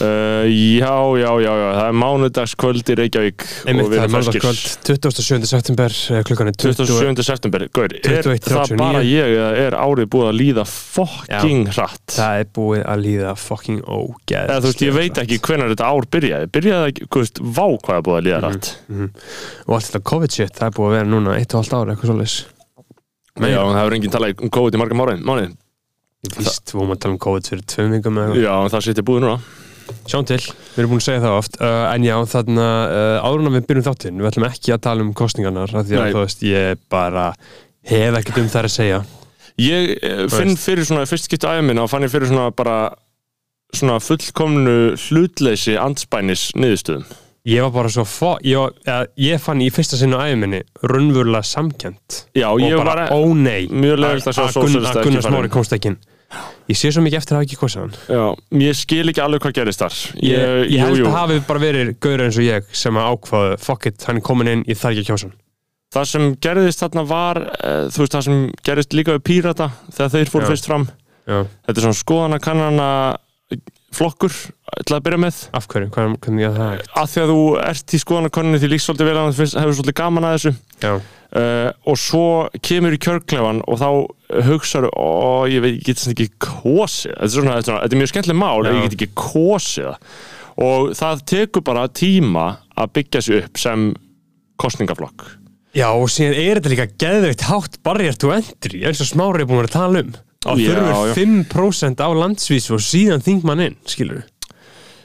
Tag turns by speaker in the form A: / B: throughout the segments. A: Uh, já, já, já, já, það er mánudagskvöld í Reykjavík
B: Einmitt,
A: og við
B: það er
A: erum ferskir
B: mánudagskvöld, 27. september, eh, klukkan er 20.
A: 27. september, gaur, er
B: 21,
A: það
B: 39?
A: bara ég eða er árið búið að líða fucking hratt?
B: Það er búið að líða fucking ógeð.
A: Eða þú veist, ég veit ekki hvenar þetta ár byrjaði Byrjaði ekki, þú veist, vá hvað er búið að líða
B: Mhm.
A: rætt
B: Og allt þetta COVID shit, það er búið að vera núna 1,5 ára, eitthvað svoleiðis.
A: Já, það hefur enginn talað um COVID í marga mánuði mánuð.
B: Ég víst, við vorum að tala um COVID fyrir tveim vingum eða eitthvað.
A: Já, en það sittir búið núna
B: Sjáum til, við erum búin að segja það oft uh, En já, þarna, uh, áður en að við byrjum þáttinn Við ætlum ekki að tala um kostningarnar af Því að
A: Nei.
B: þú veist, ég bara hef ekkert um þær að segja
A: Ég eh, finn
B: veist.
A: fyrir svona, í fyrst skipt aðeins minna og fann ég fyrir svona bara svona fullkomnu hlutleysi andspænis niðurstöðum
B: Ég var bara svo, fó, ég, var, eða, ég fann í fyrsta sinni á æfuminni Runnvurlega samkjönd
A: Já,
B: Og
A: ég
B: bara,
A: var
B: ó nei
A: mjög leiðilegt að sjá
B: Gunn-
A: sósíalista
B: að
A: ekki
B: Gunnar
A: farin.
B: Smári komst ekki inn Ég sé svo mikið eftir að hafa ekki kostið hann
A: Já, ég skil ekki alveg hvað gerist þar
B: Ég, ég,
A: jú,
B: held
A: jú.
B: að hafi bara verið gaur eins og ég sem að ákvaðu, fuck it, hann er komin inn, ég þarf ekki að kjósa hann
A: Það sem gerðist þarna var eh, þú veist, það sem gerðist líka við pírata þegar þeir fóru
B: Já.
A: fyrst fram
B: Já.
A: Þetta er svona skoðana kannana flokkur til að byrja með
B: Af hverju, hvað, hvernig er það?
A: að því að þú ert í skoðanakoninu því líkst svolítið vel að það hefur svolítið gaman að þessu
B: Já,
A: uh, og svo kemur í kjörklefan og þá hugsaðu ó, ég veit, ég get sem ekki kosið þetta er, svona, þetta, er svona, þetta er mjög skemmtileg mál
B: Já.
A: ég get ekki kosið það. og það tekur bara tíma að byggja sig upp sem kostningaflokk
B: Já, og síðan er þetta líka geðveikt hátt barrier to entry, eins og smári er búin að vera að tala um að
A: Já, já.
B: þurfur 5% á landsvísu og síðan þingmann inn, skilur við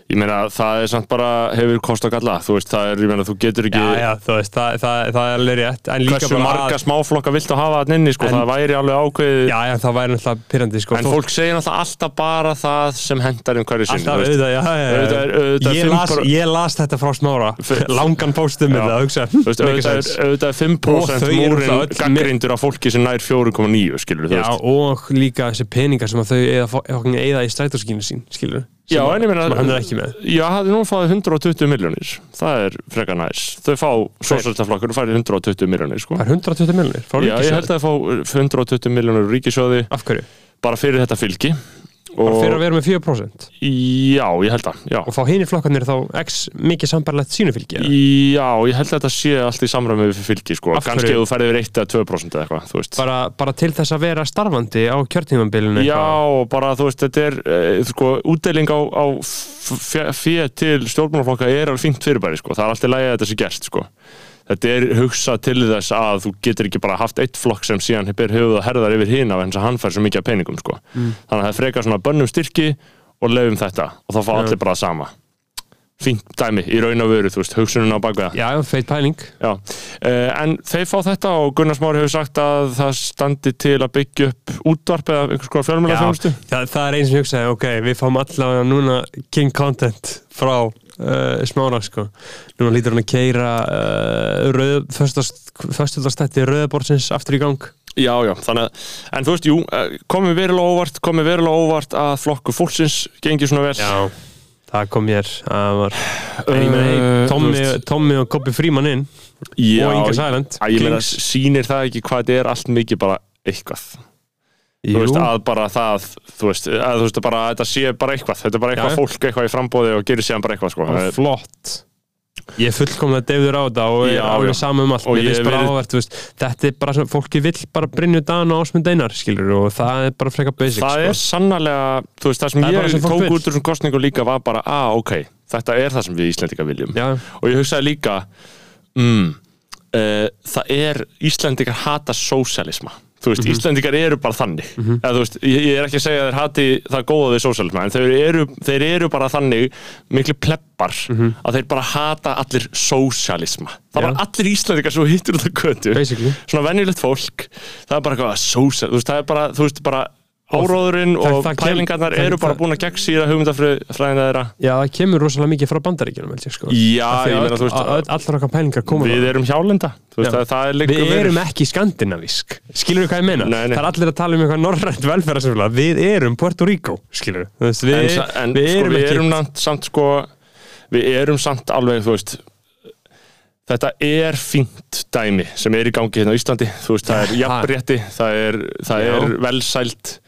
A: ég meina það er samt bara hefur kost og galla þú veist það er, ég meina þú getur ekki
B: Já, já, þú veist, það, það, það er alveg rétt en líka
A: hversu
B: bara
A: marga
B: að,
A: smáflokka viltu að hafa þann inni sko,
B: En-
A: það væri alveg ákveðið
B: Já, já, það væri náttúrulega pyrrandi, sko
A: En fólk segir náttúrulega alltaf bara það sem hendar um hverju sinni
B: alltaf
A: þú veist.
B: auðvitað, já, já, já
A: Auðvitað er- auðvitað er
B: ég,
A: fimm
B: las,
A: bara-
B: ég las þetta frá smára langan póstum með
A: Já.
B: það, hugsa
A: Þú veist, auðvitað er- auðvitað er 5%
B: Og þau eru
A: múrin
B: náttúrulega öll með-
A: gaggrindur af fólki sem nær 4,9 skilur þú
B: Já,
A: veist
B: og líka þessi peningar sem að þau eða, eða, eða í strætóskínu sín, skilur
A: Já, en ég meina
B: sem hann er ekki með.
A: Já, hafði nú fáið 120 miljónir Það er frekar næs Þau fá sósæltaflokkur og færi 120 miljónir sko.
B: Það er 120 miljonir, frá
A: Já, ég
B: ríkissjóði.
A: held að þau fá 120 miljónir ríkisjóði
B: Af hverju?
A: bara fyrir þetta fylgi
B: Bara
A: og,
B: fyrir að vera með 4%
A: Já, ég held að já.
B: og fá hinir flokkarnir þá x mikið sambarlegt sínufylgi eða?
A: já, ég held að þetta sé allt í samræmi við fylgi sko.
B: Af hverju?
A: Ganski ef þú færið við 1 eða 2% eða eitthvað, þú veist
B: bara, bara til þess að vera starfandi á kjörtímambilinu
A: Já, og bara þú veist, þetta er eh, sko, útdeling á, á fyrir til stjórnmálaflokka er alveg fínt fyrirbæri, sko. það er alltaf lægið að þetta sé gert sko. þetta er hugsað til þess að þú getur ekki bara haft eitt flokk sem síðan ber höfuð og herðar yfir hina en þess að hann fær svo mikið af peningum sko. þannig að það er frekar svona bönnum styrki og lefum þetta og þá fá
B: Já.
A: allir bara það sama fínt dæmi í raun og vöru, þú veist, hugsunin á bakveða
B: já, feit pæling
A: Já, uh, en þeir fá þetta og Gunnar Smári hefur sagt að það standi til að byggja upp útvarp eða einhvers konar fjölmjöla þjónustu
B: það, það er eins sem ég hugsaði, ok, við fáum allavega núna king content frá uh, smára, sko núna lítur hann að keira uh, föstudastætti rauðabortsins aftur í gang
A: Já, já, þannig að, en þú veist, jú, eh, komið verulega óvart, komið verulega óvart að flokku fólksins gengi svona vel.
B: það kom mér að var En ég meina, hey, Tommy, Tommy og Kobi Fríman inn
A: Eh, já,
B: og Inga Sæland
A: Að ég meina, sýnir það ekki hvað þetta er allt mikið bara eitthvað. Þú veist, að bara það, þú veist, að þú veist, bara að þetta sé bara eitthvað, þetta er bara eitthvað
B: Já, já.
A: fólk, eitthvað í frambóði og gerir síðan bara eitthvað, sko.
B: og flott ég er fullkomlega deyður á þetta og
A: Já,
B: er alveg
A: já.
B: saman um allt
A: Og
B: Mér
A: ég
B: finnst
A: hef
B: bara
A: verið-
B: áhvert, þú veist, þetta er bara svona, fólki vill bara Brynju Dan og Ásmund Einar skilur og það er bara frekar basic
A: Það
B: sko.
A: er sannarlega, þú veist, það sem
B: Það er bara
A: ég
B: sem fólk
A: tók
B: vill.
A: út úr þessum kostningu líka var bara, að, ok, þetta er það sem við Íslendingar viljum.
B: Já,
A: og ég hugsaði líka mm, uh, það er Íslendingar hata sósialisma þú
B: Mhm.
A: veist, Íslendingar eru bara þannig eða þú veist, ég, ég er ekki að segja að þeir hati það góða við sósialisma, en þeir eru, þeir eru bara þannig miklu pleppar að þeir bara hata allir sósialisma það
B: Mhm. Já.
A: var allir Íslendingar sem þú hittir út af götu
B: Basically.
A: svona venjulegt fólk það er bara eitthvað sósialisma, þú veist, það er bara þú veist, bara áróðurinn
B: það-
A: og
B: það kem-
A: pælingarnar
B: það-
A: eru bara
B: það-
A: búin að gegn síða hugmyndafræðina þeirra
B: já, það kemur rosalega mikið frá bandaríkjunum held ég sko
A: Já,
B: Af því
A: ég meina,
B: öll-
A: þú veist,
B: öll- allar okkar pælingar koma
A: við
B: við,
A: erum hjálenda þú veist,
B: Já.
A: að það er liggur
B: við
A: fyrir.
B: erum ekki skandinavísk skilur við hvað ég meina,
A: Nei, nei.
B: það er allir að tala um eitthvað norrænt velferðarsamfélag, við erum Puerto Rico skilur við, Þú veist,
A: en,
B: við,
A: sa- en
B: við
A: sko,
B: erum
A: við
B: ekki
A: erum samt, samt sko við erum samt alveg þú veist þetta er fínt dæmi sem er í gangi hérna á Íslandi þú veist það er jafnrétti það er, það
B: Já.
A: er velsælt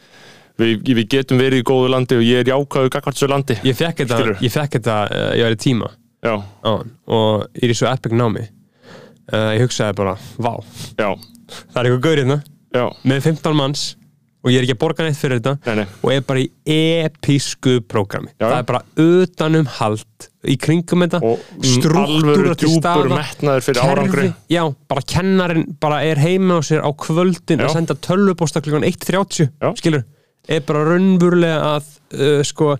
A: við, við getum verið í góðu landi og ég er jákaðu gagvart þessu landi
B: Ég fekk þetta,
A: Skilurðu?
B: ég fekk þetta, uh, ég var í tíma
A: já,
B: á hann og ég er í svo epic námi. Uh, ég hugsaði bara, vá,
A: já,
B: það er eitthvað gaur hérna
A: já,
B: með 15 manns og ég er ekki að borga neitt fyrir þetta
A: nei, nei
B: og er bara í episku prógrami.
A: Já.
B: Það er bara utanum hald í kringum þetta,
A: og mm, alvöru
B: struktúra til
A: djúpur
B: staða,
A: metnaður fyrir árangri
B: kerfi, já, bara kennarin bara er heima á sér á kvöldin
A: Já.
B: að senda tölvuposta klukkan 1.30
A: Já.
B: skilur, er bara raunvurlega að uh, sko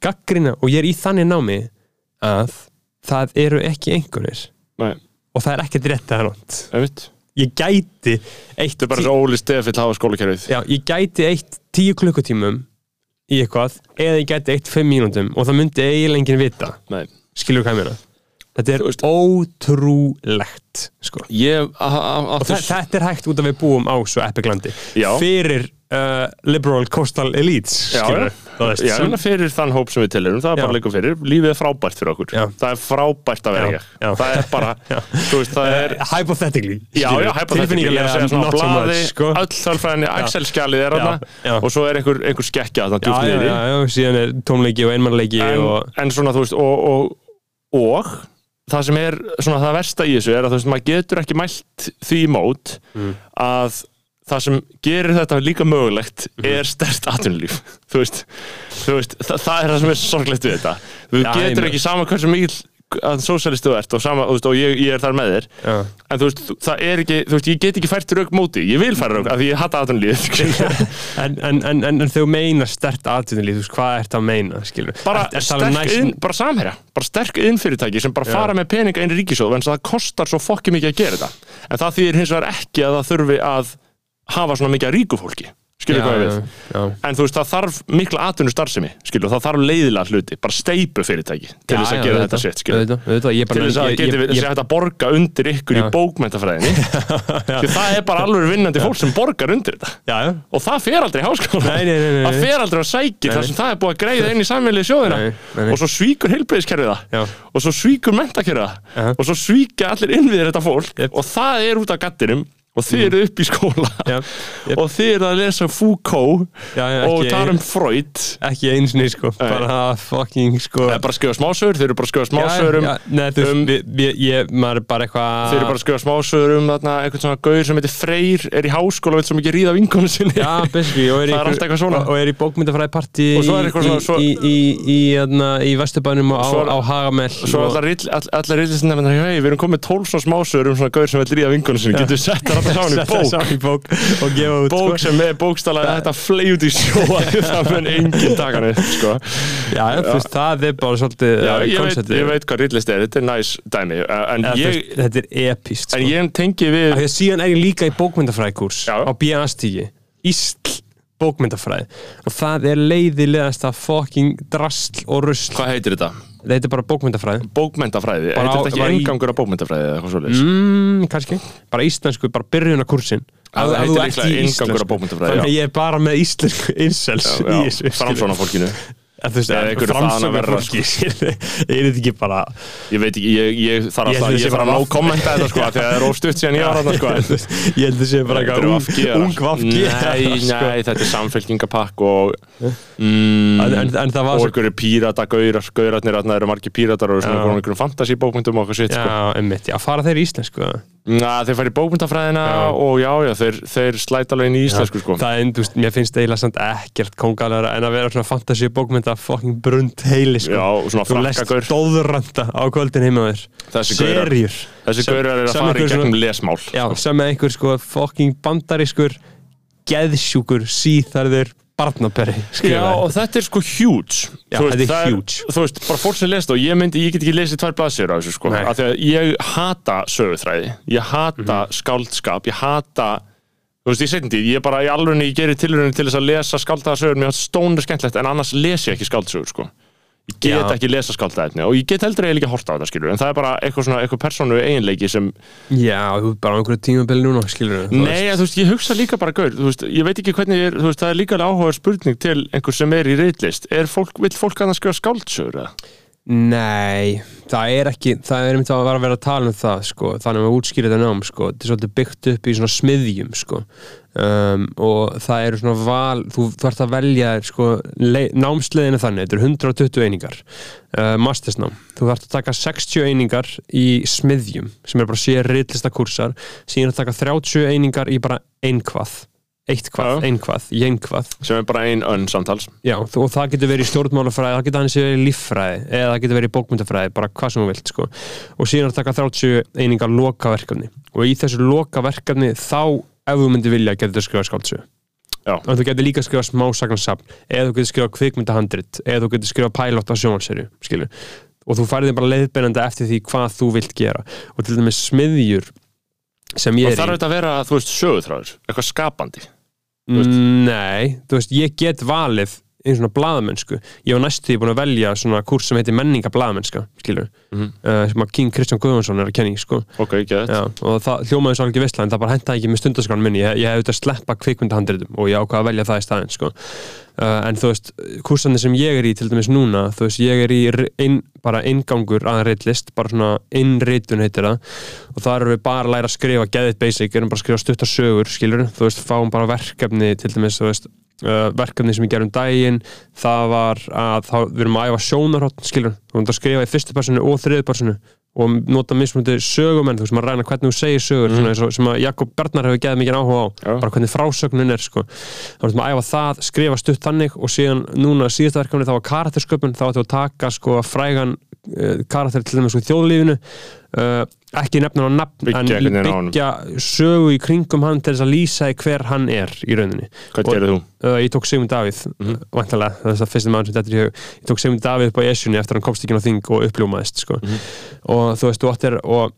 B: gaggrina og ég er í þannig námi að það eru ekki einhverjir
A: nei,
B: og það er ekkert rétt eða nátt
A: einmitt
B: ég gæti eitt
A: þetta er bara svo óli stefill hafa skólakerfið
B: já, ég gæti eitt tíu klukkutímum í eitthvað eða ég gæti eitt fimm mínútum og það myndi eiginlega enginn vita
A: nei
B: skilur hvað ég meina þetta er
A: Þú veist-
B: ótrúlegt sko
A: ég, a- a-
B: og þa-
A: aftur
B: þetta er hægt út af við búum á svo epiglandi
A: Já.
B: fyrir uh, liberal coastal elites
A: Já,
B: skilurðu,
A: já.
B: þú veist,
A: Já,
B: sem-
A: sem... fyrir þann hóp sem við telirum, það er
B: Já.
A: bara leikur fyrir lífið er frábært fyrir okkur,
B: Já.
A: það er frábært að vera
B: Já,
A: ég,
B: já.
A: það er bara þú veist, það er,
B: uh, hypothetically
A: já,
B: skilurðu,
A: já, hæpa þetta ég er að
B: tilfinningalega
A: segja svona
B: not so
A: blaði,
B: much, sko.
A: öll þarfræðinni Excel-skjalið er
B: Já, já.
A: þarna og svo er einhver, einhver skekkja þarna
B: já,
A: djúpt
B: já,
A: niður
B: já, já, síðan er tómleiki og einmannleiki
A: en,
B: og
A: en svona þú veist og, og, og það sem er svona það versta í þessu er að þú veist maður getur ekki mælt því í mót
B: Mm.
A: að það sem gerir þetta líka mögulegt
B: Mhm.
A: er stert atvinnulíf þú veist, þú veist það, það er það sem er sorglegt við þetta þú
B: Já, ég
A: getur
B: meina-
A: ekki sama hversu mikil að sósælistu ert og, sama, þú veist, og ég, ég er þar með þér
B: já,
A: en þú veist, þú- það er ekki, þú veist, ég get ekki fært rauk móti, ég vil færa rauk af því ég hata atvinnulíf
B: en, en, en, en, en þau meina stert atvinnulíf, þú veist, hvað ert að meina skilur,
A: bara
B: ert, ert
A: sterk inn, bara samherja bara sterk innfyrirtæki sem bara
B: um Já.
A: fara með peninga inn í ríkisjóð, en það kostar svo fokki mikið að gera þetta en það þýðir hins vegar ekki að það þurfi að hafa svona mikið af ríku fólki skilur hvað ég við
B: já,
A: en þú veist það þarf mikla atvinnu starfsemi skilur, það þarf leiðilega hluti, bara steipu fyrirtæki til
B: Já,
A: þess
B: já,
A: að gera
B: auðvitað,
A: þetta sitt skilur
B: auðvitað, auðvitað, ég
A: til
B: bara-
A: þess að
B: ég-
A: það geti
B: ég-
A: verið sé hægt að borga undir ykkur
B: Já.
A: í bókmentafræðinni því það er bara alveg vinnandi fólk sem borgar undir þetta
B: já, já,
A: og það fer aldrei í háskóla
B: Nei, nei, nei, nei,
A: það
B: nei.
A: fer aldrei að sækja þar sem það er búið að greiða inn í samvegli sjóðina
B: Nei, nei, nei.
A: og svo svíkur heilbreyðiskerfið það
B: Já.
A: og svo svíkur mentakerfið það
B: Aha.
A: og svo svíkja allir innviðir þetta fólk
B: Jep.
A: og það er út af gattinum og
B: Mhm.
A: þið eru upp í skóla
B: Jep, jep.
A: og þið eru að lesa Foucault
B: Já, já,
A: og
B: ekki-
A: tala um Freud
B: ekki eins og sko, bara fucking sko
A: það er bara að skrifa smásögur, þeir eru bara að skrifa
B: Já,
A: smásögur um
B: já, Nei, þú veist,
A: um-
B: við- við- ég, maður er bara eitthvað
A: Þeir eru bara að skrifa smásögur um þarna, einhvern svona gaur sem heitir Freyr er í háskóla og vil svo mikið ríða vinkonu sinni
B: Já, basically, og
A: Það er
B: er, í einhver-
A: alltaf eitthvað svona.
B: Og er í bókmyndafræðiparti
A: Og svo er eitthvað svona- svo-
B: Í, í, í, í, hérna, í vesturbænum og á,
A: Svo er-
B: á Hagamell
A: Svo allar rill- all- allar rillisinn nefnir hei, við erum komið með 12 svona smásögur um svona gaur sem vil ríða vinkunum sinni, getur við sett þar alltaf saman í bók
B: Sá í bók og gefa út
A: bók
B: sko.
A: sem er bókstælega þetta flei út í sjó það mun enginn taka neitt sko.
B: Já, já. þú veist, það er bara svolítið
A: Já,
B: uh,
A: ég, veit,
B: konceptið.
A: ég veit hvað rillist er, þetta er næs dæmi eh, en,
B: Eða, þú
A: ég,
B: veist, Þetta er epist
A: en
B: sko.
A: ég tengi við
B: Þegar síðan er ég líka í bókmyndafræðikurs
A: Já.
B: á BNA-stígi Ísl bókmyndafræði og það er leiðilegasta fucking drasl og rusl
A: hvað heitir þetta?
B: Þetta er bara bókmyndafræði
A: Bókmentafræði, heitir
B: Bara á-
A: þetta ekki
B: bara í-
A: engangur af bókmentafræði eða eitthvað svoleiðis?
B: mm, kannski, bara íslensku, bara byrjunarkursin
A: það heitir líklega inngangur á bókmenntafræði,
B: þannig að ég er bara með íslensku incels í þessu
A: framsvona um fólkinu Eða einhverju þaðan að
B: framsóna
A: verra, sko.
B: fólki er þetta ekki bara
A: ég veit ekki, ég, ég þarf
B: Ég held
A: alltaf
B: að
A: ég
B: sé
A: þarf að
B: bara
A: ná
B: vaff-
A: kommenta þetta sko, þegar það er óstutt síðan ég var þarna sko, en-
B: ég held að sé
A: Þetta
B: bara eitthvað
A: eru
B: ung-
A: VG-arar.
B: ung vafki
A: Nei,
B: sko.
A: nei, þetta er samfélkingapakk og mm,
B: En- en- en það var
A: og
B: svo-
A: einhverju pírata gaurar, gaurarnir þarna eru margir píratar og svona
B: Já.
A: einhverjum einhverjum fantasíbókmyndum og okkur sitt sko.
B: Já, emmitt, já, fara þeir í íslensku eða?
A: Na, þeir fara í bókmyndafræðina
B: Já.
A: og já, já, þeir, þeir slæta alveg inn í íslensku sko.
B: Það er, þú veist, mér finnst eiginlega samt ekkert kongalara en að vera svona fantasy bókmynda fucking brunt heili, sko
A: Já, og svona
B: Þú lest
A: frakkagaur.
B: dóðurranda á kvöldin heima á þér
A: Þessi gaurar-
B: Serjur
A: Þessi
B: Sem-
A: gaurar eru að
B: sem
A: fara í
B: einhver
A: gegnum lesmál
B: Já, sem er einhver sko fucking bandarískur geðsjúkur síþarður barnaberi
A: Já, og þetta er sko huge
B: Já,
A: Þú
B: þetta er
A: það
B: huge.
A: Þú veist, bara fólk sem lest og ég myndi, ég get ekki lesið tvær blaðsýr á þessu sko
B: Nei.
A: af því að ég hata sögutræði ég hata skáldskap, ég hata þú veist, ég setjum því, ég bara í alveg ég gerir tilurinn til þess að lesa skáldaða sögur mér hans stónu skemmtlegt, en annars les ég ekki skáldsögur sko ég get
B: Já.
A: ekki lesa skáldaða efni og ég get heldur eiginlega ekki að horta á þetta skilur en það er bara eitthvað svona, eitthvað persónu eiginleiki sem
B: Já, þú er bara á einhverju tímabili núna, skilur við
A: Nei, en þú veist, ég hugsa líka bara gaur, þú veist, ég veit ekki hvernig er, þú veist, það er líka alveg áhugaður spurning til einhver sem er í reytlist, er fólk, vill fólk annars skrifa skáldsögur eða?
B: Nei, það er ekki það er einmitt að vera að vera að tala um það sko. þannig að útskýra þetta nám sko. þetta er svolítið byggt upp í svona smiðjum sko. um, og það eru svona val þú, þú ert að velja þér, sko, le- námsleiðina þannig, þetta eru 120 einingar uh, mastersnám þú ert að taka 60 einingar í smiðjum sem er bara sér rillista kursar síðan að taka 30 einingar í bara einhvað, eitt hvað,
A: Já.
B: einhvað í einhvað
A: sem er bara ein önn samtals
B: Já, þú- og það getur verið í stjórnmálafræði, það getur hann sér verið í líffræði eða það getur verið í bókmyndafræði, bara hvað sem þú vilt sko. og síðan er að taka 30 einingar lokaverkefni og í þessu lokaverkefni þá, ef þú myndir vilja, getur þú skrifað skáldsögu
A: Já.
B: og þú getur líka skrifað smásagnarsafn eða þú getur skrifað kvikmyndahandrit eða þú getur skrifað pælótt á sjónvarserju skilur, og þú færið þig bara leiðbeinandi eftir því hvað þú vilt gera og til dæmis smiðjur sem ég
A: og
B: er í-
A: þarf þetta að vera, þú veist, sögutráður eitthvað skapandi Þú veist.
B: Mm, Nei, þú veist, ég get valið einu svona blaðamennsku ég var næstu því búin að velja svona kurs sem heitir menninga blaðamennska, skilur
A: Mhm.
B: uh, sem að King Kristján Guðjónsson er að kenna í sko.
A: ok, ekki þetta
B: Já, og það hljómaði svo alveg vissla en það bara hentaði ekki með stundaskránu minni ég, ég hefði auðvitað að sleppa kvikmyndahandritum og ég ákvað að velja það í staðinn sko. uh, en þú veist, kursandi sem ég er í til dæmis núna, þú veist, ég er í r- inn, bara inngangur að reitlist bara svona innritun heitir það og þar erum við bara að læra að skrifa get it basic, erum bara að skrifa stuttar sögur skilur, þú veist, fáum bara verkefni til dæmis, þú veist, uh, verkefni sem við gerum daginn, það var að þá, við erum að æfa sjónarhótt, skilur þú erum að skrifa í fyrstu personu og þriðu personu og nota mismunandi sögumenn þú veist, maður ræna hvernig þú segir sögur svona, eins og- sem að Jakob Bjarnar hefur geðið mikið áhuga á
A: Mhm. Já.
B: bara hvernig frásögnin er, sko þá erum að æfa það, skrifa stutt þannig og síðan núna síðasta verkefni þá var karaktersköpun þá ættum við að taka sko frægan uh, karakter til dæmis úr þjóðlífinu uh, ekki nefna hann á nafn
A: Byggja
B: en
A: einhvern veginn á honum.
B: byggja sögu í kringum hann til þess að lýsa í hver hann er í rauninni
A: hvað
B: Og-
A: gerir þú?
B: uh, ég tók Sigmund Davíð mm
A: Mhm.
B: vantanlega, þess að fyrstu maður sem þetta er í hug ég tók Sigmund Davíð upp á Esjunni eftir að hann komst ekki inn á þing og uppljómaðist sko.
A: Mhm.
B: og þú veist, þú áttir og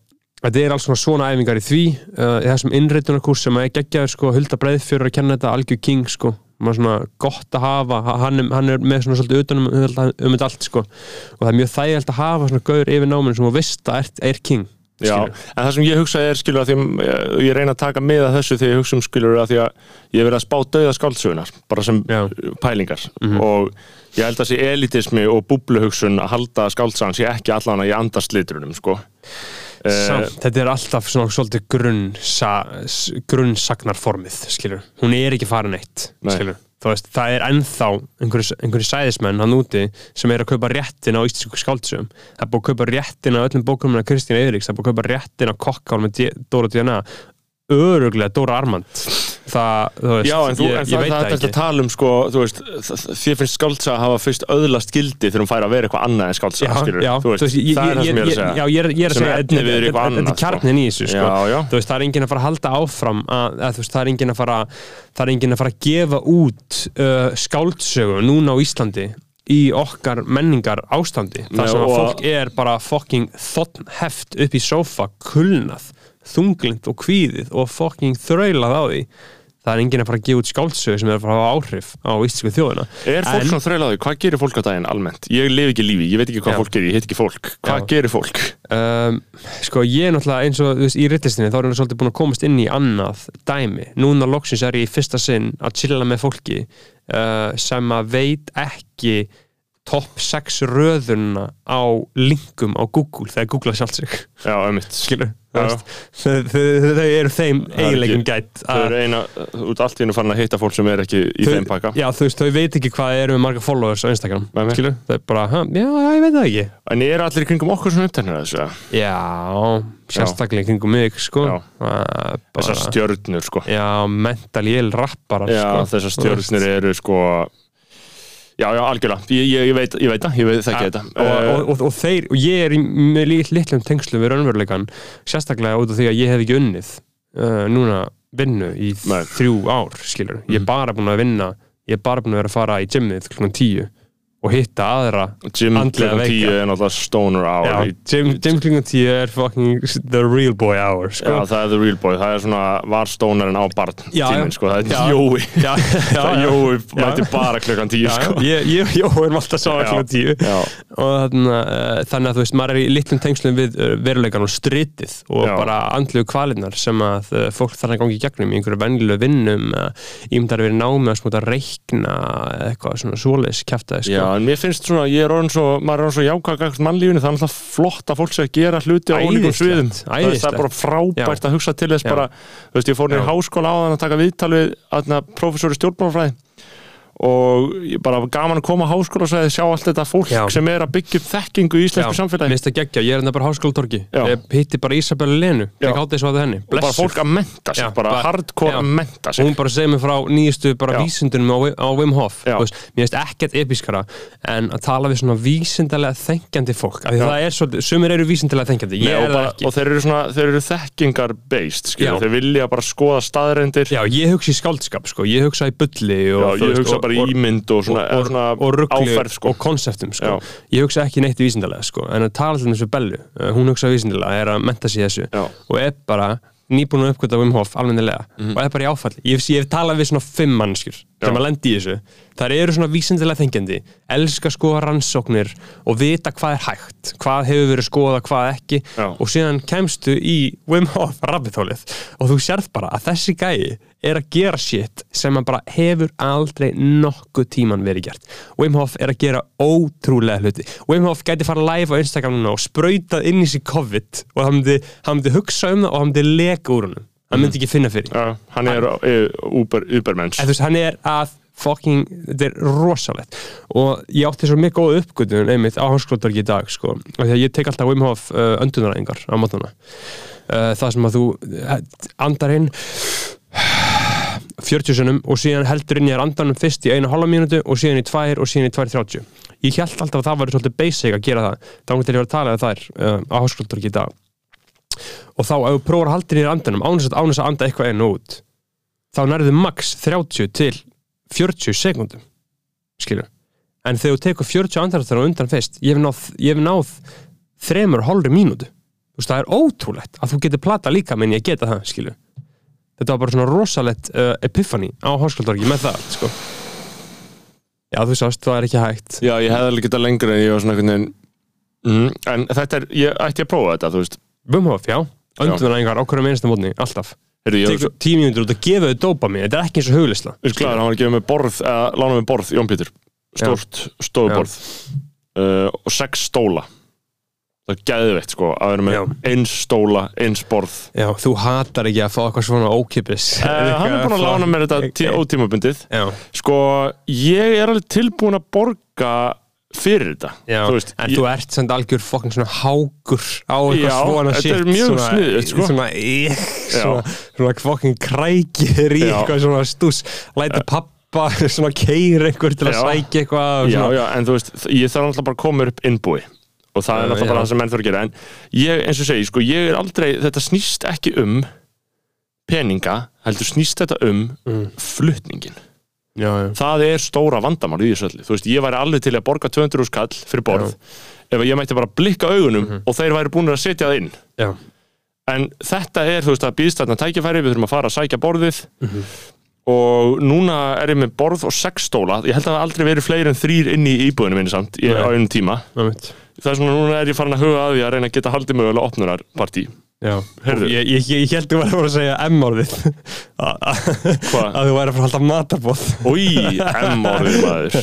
B: þetta er alls svona svona æfingar í því uh, í þessum innreitunarkurs sem að ég geggjaður sko, hulda breið fyrir að kenna þetta algjör king sko maður svona gott að hafa Ha- hann, er- hann er með svona svolítið utanum um þetta allt sko og það er mjög þægjald að hafa svona gaur yfir náminu sem þú veist að er, er king
A: Já,
B: skilur.
A: en það sem ég hugsa er skilur að því að eh, ég- ég reyna að taka með að þessu þegar ég hugsa um skilur að því að ég hef verið að spá döða skáldsögunar bara sem
B: Já. Mhm.
A: pælingar og ég held að sé elitismi og búbluhugsun að halda skáldsagans ég ekki allan að ég andast litrunum sko. Eh,
B: Samt, þetta er alltaf svona svolítið grunnsa, s- grunnsagnarformið, skilur. Hún er ekki farin eitt,
A: Nei.
B: skilur. Þú veist, það er ennþá einhverju, einhverju sæðismenn hann úti sem er að kaupa réttin á íslensku skáldsögum. Það er búið að kaupa réttin á öllum bókumum af Kristín Eiríks, það er búið að kaupa réttin á kokkál með D- Dóra Djana, öruglega Dóra Armand. Það, þú veist,
A: Já, en, þú,
B: ég,
A: en
B: ég
A: það,
B: veit
A: það er
B: það
A: þetta
B: ekki.
A: að tala um sko, þú veist, þ- þ- þér finnst skáldsaga hafa fyrst öðlast gildi þegar hún fær að vera eitthvað annað en
B: Já,
A: skáldsaga, skilur
B: já,
A: þú veist,
B: ég- ég-
A: það er það sem ég er að segja
B: Já, ég er, ég er að
A: Sem
B: segja,
A: er efni viður eitthvað
B: þetta- þetta
A: annað,
B: er
A: sko.
B: kjarnin í þessu, sko.
A: Já, já.
B: þú veist, það er enginn að fara að halda áfram að, að þú veist, það er enginn að fara það er enginn að fara að gefa út uh, skáldsögu núna á Íslandi í okkar menningar ástandi
A: Nei,
B: þar sem að
A: og-
B: fólk er bara fucking þotnheft upp í sófa, kulnað þunglind og kvíðið og fucking þraulað á því það er enginn að fara að gefa út skáldsögu sem er að fara að hafa áhrif á íslensku þjóðina
A: Er fólk
B: En-
A: svona þrölaði, hvað gerir fólk á daginn almennt? Ég lifi ekki lífi, ég veit ekki hvað
B: Já.
A: fólk gerir, ég heit ekki fólk Hvað
B: Já.
A: gerir fólk?
B: um, sko ég er náttúrulega eins og þú veist, í rillistinni þá er ég svolítið búin að komast inn í annað dæmi, núna loksins er ég í fyrsta sinn að chilla með fólki uh, sem að veit ekki topp 6 röðuna á linkum á Google þegar Google sjálft sig
A: Já, ömmitt
B: skilur,
A: Já.
B: þú veist þau, þau, þau eru þeim
A: er
B: eiginleikum
A: ekki-
B: gætt
A: Þau
B: að-
A: eru eina, út allt í hennu farin að hitta fólk sem er ekki í þeim pakka
B: já, þú veist, þau veit ekki hvað eru með marga followers á Instagram
A: Nei, nei.
B: skilur, þau er bara, "Ha, já, já, ég veit það ekki
A: En eru allir í kringum okkur svona upptænir að þessu?
B: já, sérstaklega í kringum mig sko
A: Já.
B: Það er bara-
A: Þessar stjörnur, sko
B: Já, mental ill rapparar
A: Já,
B: sko.
A: þessar stjörnur eru, sko Já, já, algjörlega, ég, ég, ég veit, ég veit það, ég veit það ekki
B: Ah, og,
A: þetta Eh,
B: og, og, og þeir, og ég er í með lít- litlum tengslum við raunveruleikan sérstaklega út af því að ég hef ekki unnið uh, núna vinnu í
A: Nei.
B: þrjú ár, skilur ég er bara búin að vinna, ég er bara búin að vera að fara í gymnið klukkan tíu og hitta aðra
A: Jim
B: andlega
A: klukkan
B: veika.
A: 10 er náttúrulega stoner
B: Já,
A: hour í-
B: gym, gym klukkan tíu er fucking the real boy hour sko.
A: Já, það er the real boy, það er svona var stónarinn á barn
B: Já, já.
A: tíminn, sko, það
B: Já.
A: er Jói
B: já, já,
A: Það er
B: já,
A: Jói
B: Já.
A: mæti bara klukkan 10,
B: já,
A: sko
B: ég, ég, ég er alltaf sá
A: Já.
B: klukkan tíu
A: Já,
B: og þarna, uh, þannig að þú veist maður er í litlum tengslum við uh, veruleikan og stritið og
A: Já.
B: bara andluðu kvalinnar sem að uh, fólk þarf að gangi í gegnum í einhverju venjulegu eh, vinnum uh, ímyndar að vera námi að smúta að reikna eða eitthvað eh, svona svoleiðis kjaftaði sko.
A: já, en mér finnst svona, ég er orðin svo, maður er orðin svo jákvæðgagn mannlífinu, það er alltaf flott að fólk sé að gera hluti á ólíkum sviðum. Þú veist,
B: Æðislegt,
A: Það
B: æðislegt.
A: er bara frábært að hugsa til þess
B: Já.
A: bara, þú veist, ég fór niður í
B: Já.
A: háskóla á þann að taka viðtal við aðna, professor í stjórnmálfræði og ég bara gaman að koma á háskóla og sjá allt þetta fólk
B: Já.
A: sem er að byggja upp þekkingu í
B: Já,
A: íslensku samfélagi.
B: minnst að gegja, ég er hérna bara háskólatorki
A: Já.
B: Ég hitti bara Ísabella Lenu,
A: Já.
B: ekki átti þessu að henni
A: Og bara
B: Blessuð.
A: fólk að menta sig,
B: Já,
A: bara
B: bara-
A: hardcore
B: já.
A: að menta sig.
B: hún bara segir mér frá nýjastu bara
A: Já.
B: vísindunum á, Wi- á Wim Hof
A: Já.
B: Þú veist, mér finnst ekkert episkara en að tala við svona vísindalega þengjandi fólk af því
A: Já.
B: það er svolítið, sumir eru vísindalega þengjandi ég
A: Nei, og,
B: er það
A: bara,
B: ekki
A: og þeir eru, svona, þeir eru þekkingar based, skilur,
B: Já.
A: þeir vilja bara skoða staðrendir
B: já, ég hugsa í skáldskap, sko, ég hugsa í bulli og,
A: Já,
B: þú
A: ég
B: veist,
A: hugsa
B: og-
A: bara
B: og-
A: ímynd og svona,
B: og,
A: og, svona
B: og rugli
A: áferð sko.
B: og konseptum sko.
A: Já.
B: ég hugsa ekki neitt í vísindalega sko. en að tala til þessu Bellu, eh, hún hugsa vísindalega er að menta sig í þessu
A: Já.
B: og er bara nýbúin að uppgöta Wim Hof almennilega og er bara í áfall ég hef, ég hef talað við svona fimm mannskjur sem
A: Mhm. Já.
B: að lendi í þessu þar eru svona vísindalega þengjandi elska skoða rannsóknir og vita hvað er hægt hvað hefur verið skoða, hvað ekki
A: Já.
B: og síðan kemstu í Wim Hof rabbithólið og þú sérð bara að þessi gæi er að gera shit sem að bara hefur aldrei nokkuð tíman verið gert Wim Hof er að gera ótrúlega hluti Wim Hof gæti fara live á Instagram núna og sprautað inn í sig COVID og hann myndi, hann myndi hugsa um það og hann myndi leka úr honum hann myndi ekki finna fyrir því.
A: Já, hann er eh, uber, ubermensch
B: En þú veist, hann er að fucking, þetta er rosalegt og ég átti svo mjög góða uppgötun einmitt á hanskrótorki í dag sko. og því að ég tek alltaf Wim Hof uh, öndunaræðingar á mótnana uh, það sem að þú uh, andar inn 40 sinnum og síðan heldur inn ég er andanum fyrst í einu halva mínútu og síðan í tvær og síðan í tvær 30 ég held alltaf að það var svolítið basic að gera það þá hún til ég var að tala við þær uh, á hanskrótorki í dag og þá ef þú prófar að halda nýra andanum án þess að, án þess að anda eitthvað einu út þá nærðu max 30 til 40 sekundum skilur, en þegar þú tekur 40 andartar og undan fyrst, ég hef náð, ég hef náð þremur og hálfri mínútu þú veist, það er ótrúlegt að þú getur plata líka menn ég geta það, skilur þetta var bara svona rosalett uh, epiphany á háskaldorgi með það, sko já, þú sást, það er ekki hægt
A: Já, ég hefði alveg getað lengur en ég var svona einhvern veginn mm, En þetta er, ég ætti að prófa þetta, þú veist
B: Bumhof, já, öndunaræðingar á hverjum einasta mótni, alltaf
A: Heyrðu, ég
B: tekur 10 mínútur út að gefa þau dópa þetta er ekki eins og huglisla
A: er glæður, hann var að gefa mig borð, eða lána mig borð, Jón Pítur Stórt,
B: Já.
A: stóðborð uh, Og sex stóla Það er geðveitt, sko, að vera með
B: Já.
A: eins stóla, eins borð
B: Já, þú hatar ekki að fá eitthvað svona ókipis
A: uh, Hann er búin að lána mér þetta tí- ótímabundið
B: Já,
A: Sko, ég er alveg tilbúin að borga fyrir þetta
B: já,
A: Þú veist,
B: en
A: ég-
B: þú ert samt algjör fokkin svona hákur á eitthvað
A: Já,
B: svona
A: þetta
B: shit
A: er mjög
B: svona-
A: sniðugt, sko.
B: Svona, eh, svona, svona fokkin krækir í
A: Já. Eh.
B: eitthvað svona stús Læta pappa svona keir einhver til að
A: Já.
B: sækja eitthvað og
A: já,
B: svona-
A: já, en þú veist, ég þarf náttúrulega bara að koma mér upp innbúi og það
B: Já,
A: er náttúrulega
B: já.
A: bara það sem menn þurfa að gera en ég, eins og segi, sko, ég er aldrei þetta snýst ekki um peninga, heldur snýst þetta um
B: Mm.
A: flutningin.
B: já, já.
A: Það er stóra vandamál í þessu öllu, þú veist, ég væri alveg til að borga 200 skall fyrir borð ef að ég mætti bara blikka augunum og þeir væri búin að setja það inn
B: já.
A: en þetta er, þú veist, að býðst þarna tækifæri við þurfum að fara að sækja borðið og núna er ég með borð og sex stóla, ég held að það hafi aldrei verið fleiri en þrýr inn í íbúðinu minni samt í,
B: Nei.
A: á einum tíma,
B: einmitt.
A: það er svona núna er ég farin að huga að því að reyna að geta haldið mögulega opnunarpartí
B: Já,
A: Heyrðu.
B: ég, ég, ég held þú væri að fara að segja M-orðið A- a-
A: Hvað?
B: að þú væri að fara að halda matarbóð
A: Új, M-orðið maður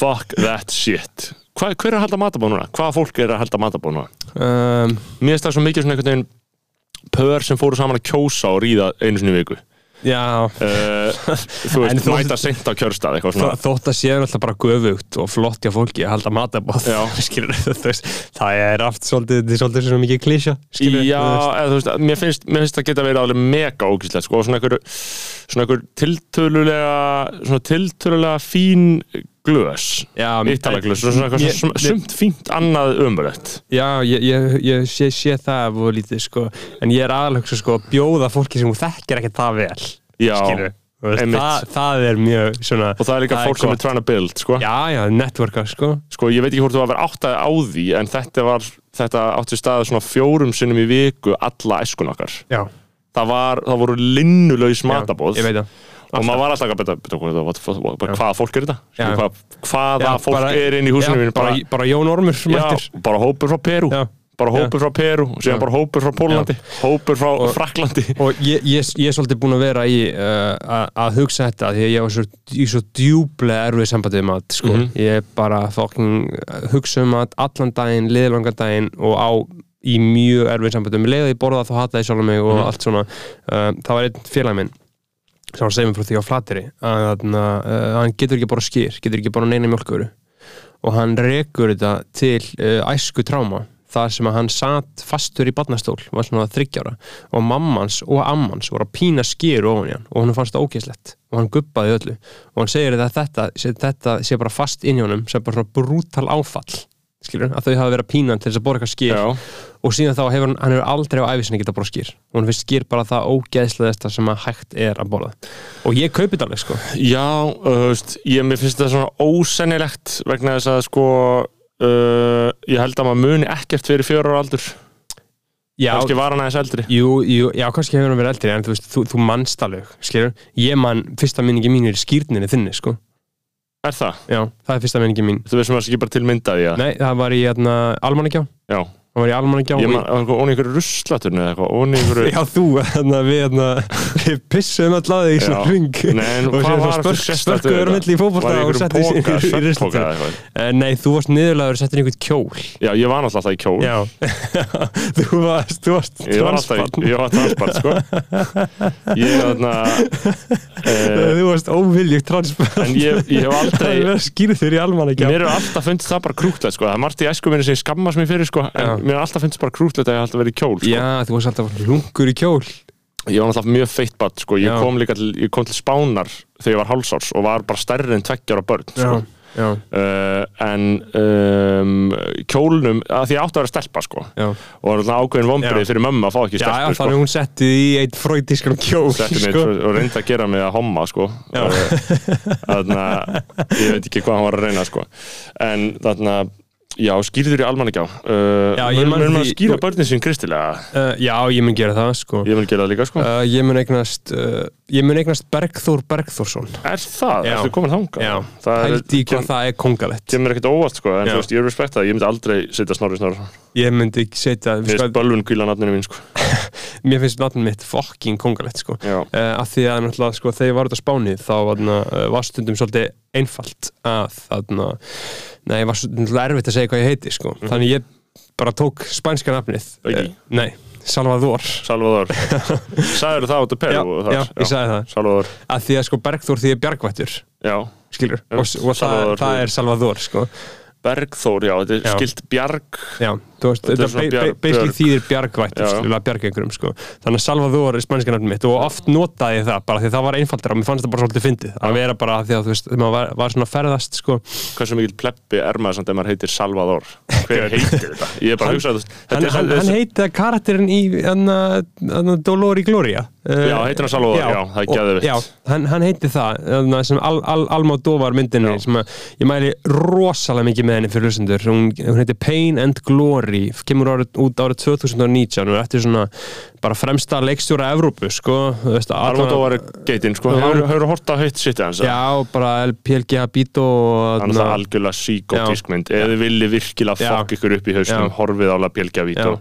A: Fuck that shit Hva, Hver er að halda matabóð núna? Hvaða fólk er að halda matabóð núna?
B: um,
A: Mér er það svo mikið svona einhvern veginn pör sem fóru saman að kjósa og ríða einu sinni í viku
B: Já,
A: uh, Þú
B: En
A: veist,
B: þú-
A: mæta seint á kjörstað eitthvað
B: Þó,
A: svona
B: þótt að séu alltaf bara göfugt og flott hjá fólki að halda matabóð
A: Já.
B: skilur, þú veist, það er aft svolítið, þetta er svolítið svona mikið klísja skilur,
A: Já,
B: þú veist.
A: eða þú veist, mér finnst, mér finnst það geta verið alveg mega ógíslega, sko, og svona einhver, svona einhver tiltölulega, svona tiltölulega fín glös,
B: já,
A: íttalaglös, svona eitthvað
B: Ég-
A: svona sumt fínt, annað umrætt.
B: já ég, ég, ég sé, sé það og lítið sko, en ég er aðalhugsa sko að bjóða fólki sem þú þekkir ekkert það vel
A: Já,
B: skilur, þú veist,
A: einmitt.
B: það, það er mjög svona,
A: og það er líka fólk sem er
B: gott.
A: trying to build, sko.
B: já, já, networka sko
A: Sko, ég veit ekki hvort þú að vera áttaði á því, en þetta var, þetta átti staðið svona fjórum sinnum í viku alla æskun okkar.
B: já,
A: Það var, það voru linnulaus matabóð
B: já, ég veit það
A: og maður var alltaf að betta, betta, betta, betta, betta, betta hvaða fólk er þetta?
B: Já.
A: Hvað, hvaða
B: Já,
A: fólk
B: bara-
A: er inn í húsinu
B: já,
A: mínu?
B: bara, bara Jón Ormur
A: Já,
B: mættir
A: bara hópur frá Perú
B: Já.
A: bara hópur frá Peru og síðan
B: Já.
A: bara hópur frá Pólandi, hópur frá
B: Og-
A: Fraklandi
B: og ég, ég, ég er svolítið búin að vera í uh, að- að hugsa þetta því að ég var svo, í svo djúblega erfið sambandið um að sko.
A: Mhm.
B: ég bara fucking hugsa um að allan daginn, liðlangan daginn og á í mjög erfið sambandið um leiðið ég borða þá hata ég sjálf mig og
A: Mhm.
B: allt svona uh, það var einn félag minn sem var að segja mér frá því á flateri að, að, að hann getur ekki bara skýr getur ekki bara neina mjölkuru og hann rekur þetta til uh, æsku tráma þar sem að hann satt fastur í barnastól, var svona þryggjára og mammans og ammans voru að pína skýr ofan í hann og hann fannst það ógeðslegt og hann guppaði öllu og hann segir að þetta, sé- þetta sé bara fast inn í honum sem bara svona brútal áfall skilur, að þau hafa verið að pína hann til þess að borga skýr
A: Já,
B: og síðan þá hefur hann, hann hefur aldrei á æfisinni geta borða skýr og hann finnst skýr bara það ógeðslegasta sem að hægt er að borða og ég kaupi þetta alveg sko
A: já uh, þú veist, ég, mér finnst þetta svona ósennilegt vegna þess að sko uh, ég held að maður muni ekkert fyrir fjóra ára aldur,
B: já,
A: kannski var hann aðeins eldri
B: jú, jú, já, kannski hefur hann verið eldri en þú veist, þú, þú manst alveg, skilur ég man, fyrsta minningi mín er í skýrninni þinni sko,
A: Er það?
B: já, það er fyrsta minningi mín
A: Þú veist sem að ekki bara til myndaði já.
B: nei, það var í hérna, Almanningjá
A: Já.
B: það var í Almanningjá
A: Ég
B: og-
A: man, ón í einhverju ruslaturnu eða eitthvað, ón í einhverju
B: já, þú, hérna, við hérna við pissum alltaf að þig í
A: Já.
B: svona ring
A: Nei, en
B: og
A: hvað
B: sér
A: var
B: það
A: það
B: spörkuður milli
A: Var
B: í
A: ég
B: fótbolta og
A: einhverjum
B: setti
A: póka,
B: í
A: svepppóka
B: ristiltæð
A: eða eitthvað?
B: Eh, Nei, þú varst niðurlegaður og settir í einhvern kjól
A: Já, ég var náttúrulega alltaf í kjól
B: Já, þú varst, þú varst
A: Ég var alltaf,
B: transbarn.
A: í- ég var transbarn, sko Ég, þarna eh,
B: Þú varst óviljugt transbarn
A: En ég, ég hef
B: Það
A: aldrei
B: er verið skýrður í almanakjá
A: Mér hefur alltaf fundist það bara krútlegt, sko Það er margt í æsku minni sem ég skammast mér fyrir, sko En
B: Já.
A: mér hefur alltaf fundist bara krútlegt að ég hef alltaf verið í kjól, sko
B: Já, þú varst alltaf lungur í kjól
A: Ég var náttúrulega mjög feitt barn, sko Ég
B: Já.
A: kom líka til, ég kom til Spánar þegar ég var hálsárs og var bara stærri en tveggjara börn, sko
B: já,
A: uh, en um, kjólnum, að því ég átti að vera stelpa sko,
B: já
A: og var alltaf ákveðin
B: Já.
A: vombrið fyrir mömmu að fá ekki
B: Já, já,
A: stelpu
B: þannig
A: sko.
B: að hún setti þig í einn fröydískan kjól
A: Stelpunni
B: sko.
A: og reyndi að gera mig að homma sko.
B: Já.
A: Uh, þarna, ég veit ekki hvað hann var að reyna sko. en þarna já, skýrður í almannagjá uh,
B: Já, ég man
A: mun maður
B: því-
A: skýra börnin sín kristilega
B: uh, Já, ég mun gera það, sko
A: ég mun gera það líka sko.
B: uh, Ég mun eignast uh, Ég mun eignast Bergþór Bergþórsson
A: er það,
B: Já.
A: ertu komin þangað
B: Já,
A: það er,
B: Hældi í hvað það er kongalett
A: kemur ekkert óvart sko, en
B: Já.
A: þú veist, ég er respekt það ég myndi aldrei setja snorri snorri
B: Ég myndi ekki setja við
A: fyrst
B: sko,
A: bölvun kvíla nafninu mín sko.
B: Mér finnst nafnum mitt fucking kongalett, sko
A: já,
B: uh, að því að náttúrulega sko, þegar ég var út á Spáni þá varna, uh, var stundum svolítið einfalt að þarna, nei, var stundum svolítið erfitt að segja hvað ég heiti sko.
A: Mhm.
B: þannig ég bara tók spænska nafnið
A: Ekki?
B: Eh, nei, Salvador
A: Salvador sagður það út af
B: já,
A: Peru og þar?
B: já, ég sagði það
A: Salvador,
B: að því að sko Bergþór því er bjargvættur
A: já
B: skilur,
A: Já,
B: og, s- og það,
A: Salvador.
B: það er Salvador sko.
A: Bergþór, já, þetta er
B: Já.
A: skilt bjarg
B: já, þú veist,
A: Þetta er
B: þetta
A: svona
B: be- be-
A: bjarg-
B: basically
A: björg.
B: þýðir bjargvættur
A: Já, já.
B: skilur, að bjarga einhverjum sko. þannig að Salvador er spænska nafnum mitt og oft notaði ég það bara því það var einfaldra og mér fannst það bara svolítið fyndið að vera bara því að þú veist, þegar maður var, var svona að ferðast sko.
A: hversu mikill pleppi er maður samt ef maður heitir Salvador hver heitir þetta? Ég er bara
B: Hann-
A: að hugsa þetta þetta er-
B: hann, hann,
A: þetta
B: hann
A: er-
B: heiti karakterinn í anna, anna, Dolori Gloria uh,
A: Já, heitir hann Salvador, já, það er
B: og-
A: geðveikt.
B: Já, hann, hann heiti það, anna, sem Al, Al, Alma Dovar myndinni
A: Já.
B: sem að, ég mæli rosalega mikið með henni fyrir hlustendur hún, hún heitir Pain and Glory kemur árið, út árið 2019 og eftir svona bara fremsta leikstjóra Evrópu, sko þú veist,
A: Almodóvar er geitinn, sko
B: Já.
A: hefur hefur hort á heitt sitt hans
B: Já, bara El PLG Habito og
A: þannig að það er
B: anna-
A: algjörlega síkótísk mynd eða þið villi virkilega
B: Já.
A: fokk ykkur upp í hausnum
B: Já.
A: horfið ála Bjelgjavít
B: Já.
A: og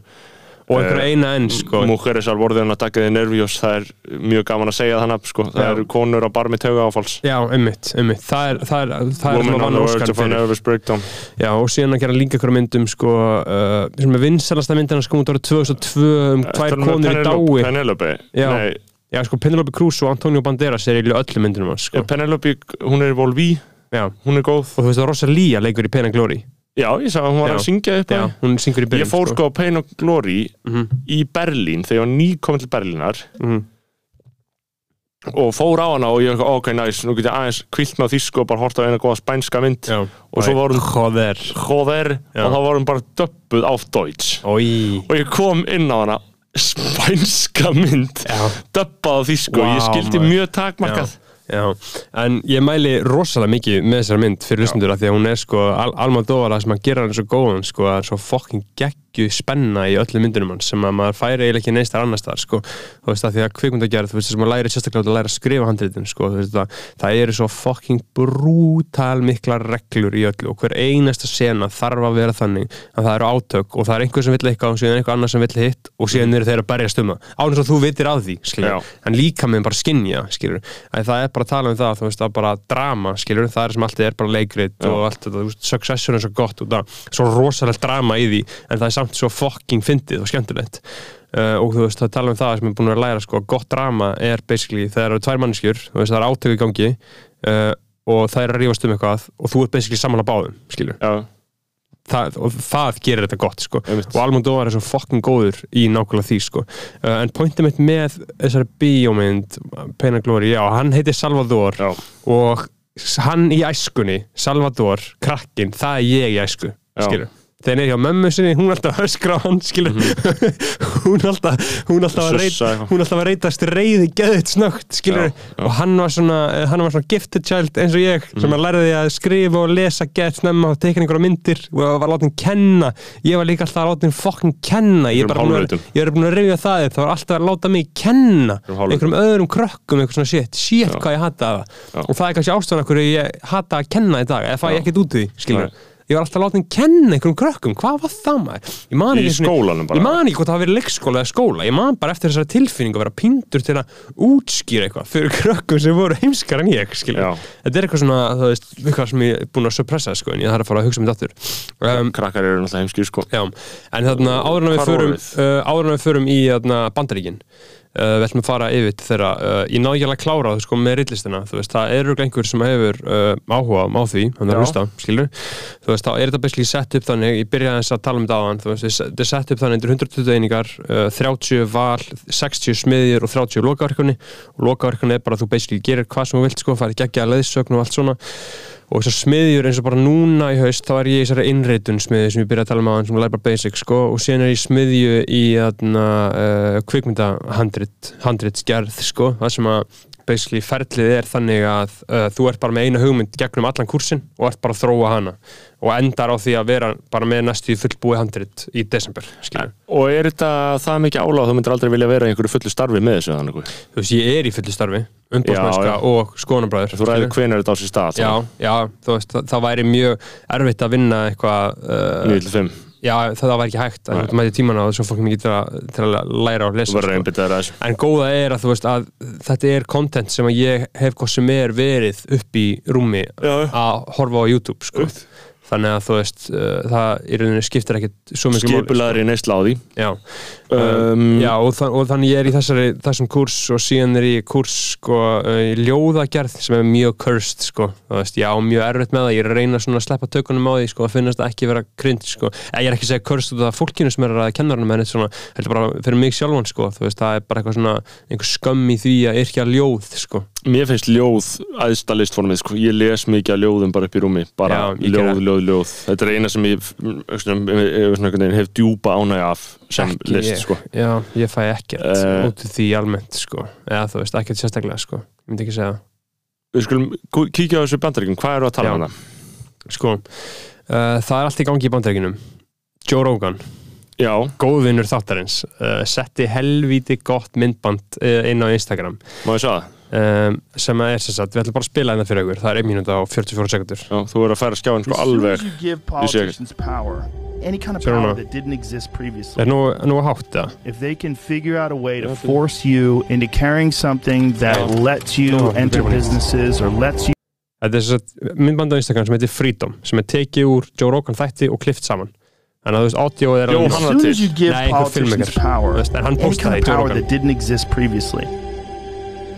B: og einhverja
A: Eh,
B: eina enn, sko
A: Múkeres alvorðin að daggaði nervjós það er mjög gaman að segja þannig sko. það
B: Já.
A: eru konur á barmi tauga áfáls
B: Já, ummitt, ummitt, það er það er, það er
A: Woman
B: sem að
A: on
B: vann
A: the verge of
B: Óskarinn
A: a
B: fyrir.
A: nervous breakdown
B: Já, og síðan að gera líka ykkur myndum sko, uh, sem er vinsalasta myndina sem kom út árið 2002 um tvær
A: Ertu með
B: konur í
A: Penelope-
B: dái
A: Penelope,
B: Já.
A: Nei,
B: Já, sko, Penelope Cruz og Antonio Banderas er í öllum myndunum hans,
A: er
B: sko
A: Penelope, hún er í Volví
B: Já,
A: hún er góð
B: og þú veist að Rosalía leikur í Pain and Glory
A: Já, ég sagði að hún var
B: Já.
A: að syngja upp
B: Já,
A: að
B: hún syngur í byrjun
A: Ég fór sko á Pain og Glory í Berlín þegar ég var nýkomin til Berlínar
B: Mhm.
A: og fór á hana og ég var ok, næs, nú get ég aðeins kvilt með þýsku og bara hort á eina góða spænska mynd
B: Já,
A: Og svo var hún-
B: Hóðer
A: Hóðer
B: Já.
A: og þá var hún bara döppuð á Deutsch
B: Ói
A: og ég kom inn á hana spænska mynd
B: Já.
A: döppað á þýsku og ég
B: Vá,
A: skildi
B: maður.
A: mjög takmarkað
B: Já, en ég mæli rosalega mikið með þessari mynd fyrir hlustundur að því að hún er sko Al Alma Dóvala sem að gera hann svo góðan sko að hann er svo fucking gegg geggju spenna í öllum myndunum hans sem að maður færi eiginlega ekki neistar annars þar sko. þú veist það því að kvikmyndagerð þú veist þess að maður læri sérstaklega út að læra að skrifa handritin sko. þú veist það, það eru svo fucking brútal miklar reglur í öllu og hver einasta sena þarf að vera þannig að það eru átök og það er einhver sem vill eitthvað og síðan einhver annar sem vill hitt og síðan eru þeir að berjast um það án þess að þú vitir af því
A: Já.
B: skilur, en líka með bara skinja skilur, að það er bara að tala um það þú veist, að bara drama skilur, það er sem alltaf er bara leikrit og allt þetta, þú veist, successor er svo gott og það, svo rosalegt drama í því en það er samt svo fucking fyndið og skemmtilegt uh, og þú veist, það tala um það sem er búin að vera að læra, sko, að gott drama er basically, það eru tvær manneskjur, þú veist, það er átök í gangi uh, og það er að rífast um eitthvað og þú ert basically samanlega báðum, skilur
A: já,
B: það, og það gerir þetta gott sko.
A: Einmitt.
B: og Almondóvar er svo fokkin góður í nákvæmlega því sko. uh, en pointið mitt með þessari bíómynd Pain and Glory, já, hann heitir Salvador
A: já,
B: og s- hann í æskunni Salvador, krakkin, það er ég í æsku
A: Já.
B: skilur Þegar hann er hjá mömmu sinni, hún er alltaf að öskra á hann, skilur, hún er alltaf, hún er alltaf
A: Sussa
B: að reyta,
A: eitthvað.
B: hún er alltaf að reytast reyði geðið snögt, skilur,
A: Já, já. Mm.
B: og hann var svona, eh, hann var svona gifted child eins og ég, sem að lærði að skrifa og lesa geðið snemma og teka einhverja myndir og var látin kenna, ég var líka alltaf að láta hann fokkin kenna, ég er
A: Einhverjum
B: bara búin að,
A: hálfvitum.
B: ég er búin að reyja það upp, það var alltaf að láta mig kenna
A: Einhverjum hálfvitum.
B: einhverjum öðrum krökkum, eitthvað svona shit, shit hvað ég hata
A: Já.
B: það og það er kannski ástæðan okkur ég hata að kenna í dag, eða fæ
A: Já.
B: ég ekkert út í því, skilur
A: Nei.
B: ég var alltaf að láta hann kenna einhverjum krökkum, hvað var það maður ég
A: Í
B: man ekki, einu sinni-
A: skólanum bara?
B: ég man ekki hvort það hafi verið leikskóla eða skóla, ég man bara eftir þessari tilfinningu að vera pindur til að útskýra eitthvað fyrir krökkum sem voru heimskar en ég skilur,
A: Já.
B: þetta er eitthvað svona það veist, eitthvað sem ég er búin að suppressa sko, en ég þarf að fara að hugsa um þetta aftur um,
A: krakkar eru náttúrulega heimskir sko
B: Já, en þarna áður en við
A: Hvar vorum
B: förum,
A: við?
B: uh, áður en við förum í þarna, bandaríkin uh, við ætlum að fara yfir til þeirra uh, ég ná ekki alveg að klára það sko, með rillistina veist, það eru einhver sem hefur uh, áhuga á því, hann er
A: Já.
B: að hlusta, skilur þú veist, þá er þetta basically sett upp þannig ég byrjaði aðeins að tala um þetta áðan, þú veist þetta er sett upp þannig undir 120 einingar uh, 30 val, 60 smiðir og 30 lokaverkunni, og lokaverkunni er bara að þú basically gerir hvað sem þú vilt, sko, farið geggja leðsögn og allt svona og þessar smiðjur eins og bara núna í haust þá er ég í þessari innreitun smiðju sem ég byrja að tala um á hann sem læra bara basic sko og síðan er ég í smiðju í þarna uh, kvikmynda handrit, handritsgerð sko það sem að basically ferlið er þannig að uh, þú ert bara með eina hugmynd gegnum allan kursin og ert bara að þróa hana og endar á því að vera bara með næstu í fullbúi handrit í desember skilur.
A: og er þetta það mikið áláð þú myndir aldrei vilja vera í einhverju fullu starfi með þessu þannig einhver.
B: þú veist ég er í fullu starfi
A: Já, já.
B: umbóðsmennska og skoðanabræður
A: þú ræðir hvenær þetta á sér stað
B: Já, já, þú veist, það, það væri mjög erfitt að vinna eitthvað uh,
A: 9-5,
B: Já, það, það var ekki hægt að
A: Nei.
B: þú mæti tíman á þessu fólk mikið til að, til að læra og
A: þú
B: lesa
A: verður
B: sko.
A: einbyttaður að þessu
B: En góða er að þú veist að þetta er content sem að ég hef hvað sem er verið upp í rúmi
A: Já, já.
B: að horfa á YouTube sko. Þannig að þú veist, uh, það í rauninni skiptir ekkit svo mikið
A: skipulaður í neysla á því
B: Já,
A: um,
B: sko. já og, þa og þannig ég er í þessari, þessum kurs og síðan er ég í kurs sko, uh, í ljóðagerð sem er mjög cursed sko. þú veist, já, mjög erfitt með það ég er að reyna svona að sleppa tökunum á því sko, að finnast það ekki vera krynd sko. Eh, ég er ekki að segja cursed út af fólkinu sem er að kenna hann með þetta svona, heldur bara fyrir mig sjálfan sko, þú veist, það er bara eitthvað svona einhver skömm í því að yrkja ljóð sko.
A: mér finnst ljóð æðsta listformið sko. ég les mikið að ljóðum bara upp í rúmi bara
B: Já, ég geri
A: ljóð,
B: það.
A: ljóð, ljóð þetta er eina sem ég mm, svona, eh, eh, svona einhvern veginn hef djúpa ánægja af sem
B: Ekki
A: list
B: ég.
A: sko.
B: já, ég fæ ekkert
A: Eh.
B: út úr því almennt sko. eða þú veist, ekkert sérstaklega sko. ég myndi ekki segja það
A: við skulum kú- kíkja á þessu bandaríkjum hvað eru að tala
B: Já.
A: um það?
B: sko, uh, það er allt í gangi í bandaríkinum Joe Rogan
A: Já,
B: góðvinnur þáttarins uh, setti helvíti gott myndband uh, inn á Instagram
A: má ég sjá það?
B: um, sem að er sem sagt, við ætlum bara að spila þetta fyrir ykkur það er 1 mínúta og 44 sekundur
A: Já, þú er að færa skjáin sko
C: As soon as
A: alveg
C: you give
A: Ég sé
C: politicians power, any kind of
B: Sure
C: power
B: enough.
C: that didn't exist previously,
B: er nú, nú að hátta
C: if they can figure out a way to force you into carrying something that
B: Yeah.
C: lets you
B: No,
C: enter
B: everybody-
C: businesses or lets you
B: þetta er sem sagt, myndband á Instagram sem heitir Freedom sem er tekið úr Joe Rogan þætti og klift saman þannig að þú veist, audio er
A: Jó,
B: alveg-
C: as
A: hann-
C: soon as you
A: til.
C: give
B: Nah, I can
C: politicians
B: filmmaker. Þú
C: power,
B: veist, en hann
C: any kind
B: postaði
C: of
B: Joe
C: power
B: Rogan
C: that didn't exist previously,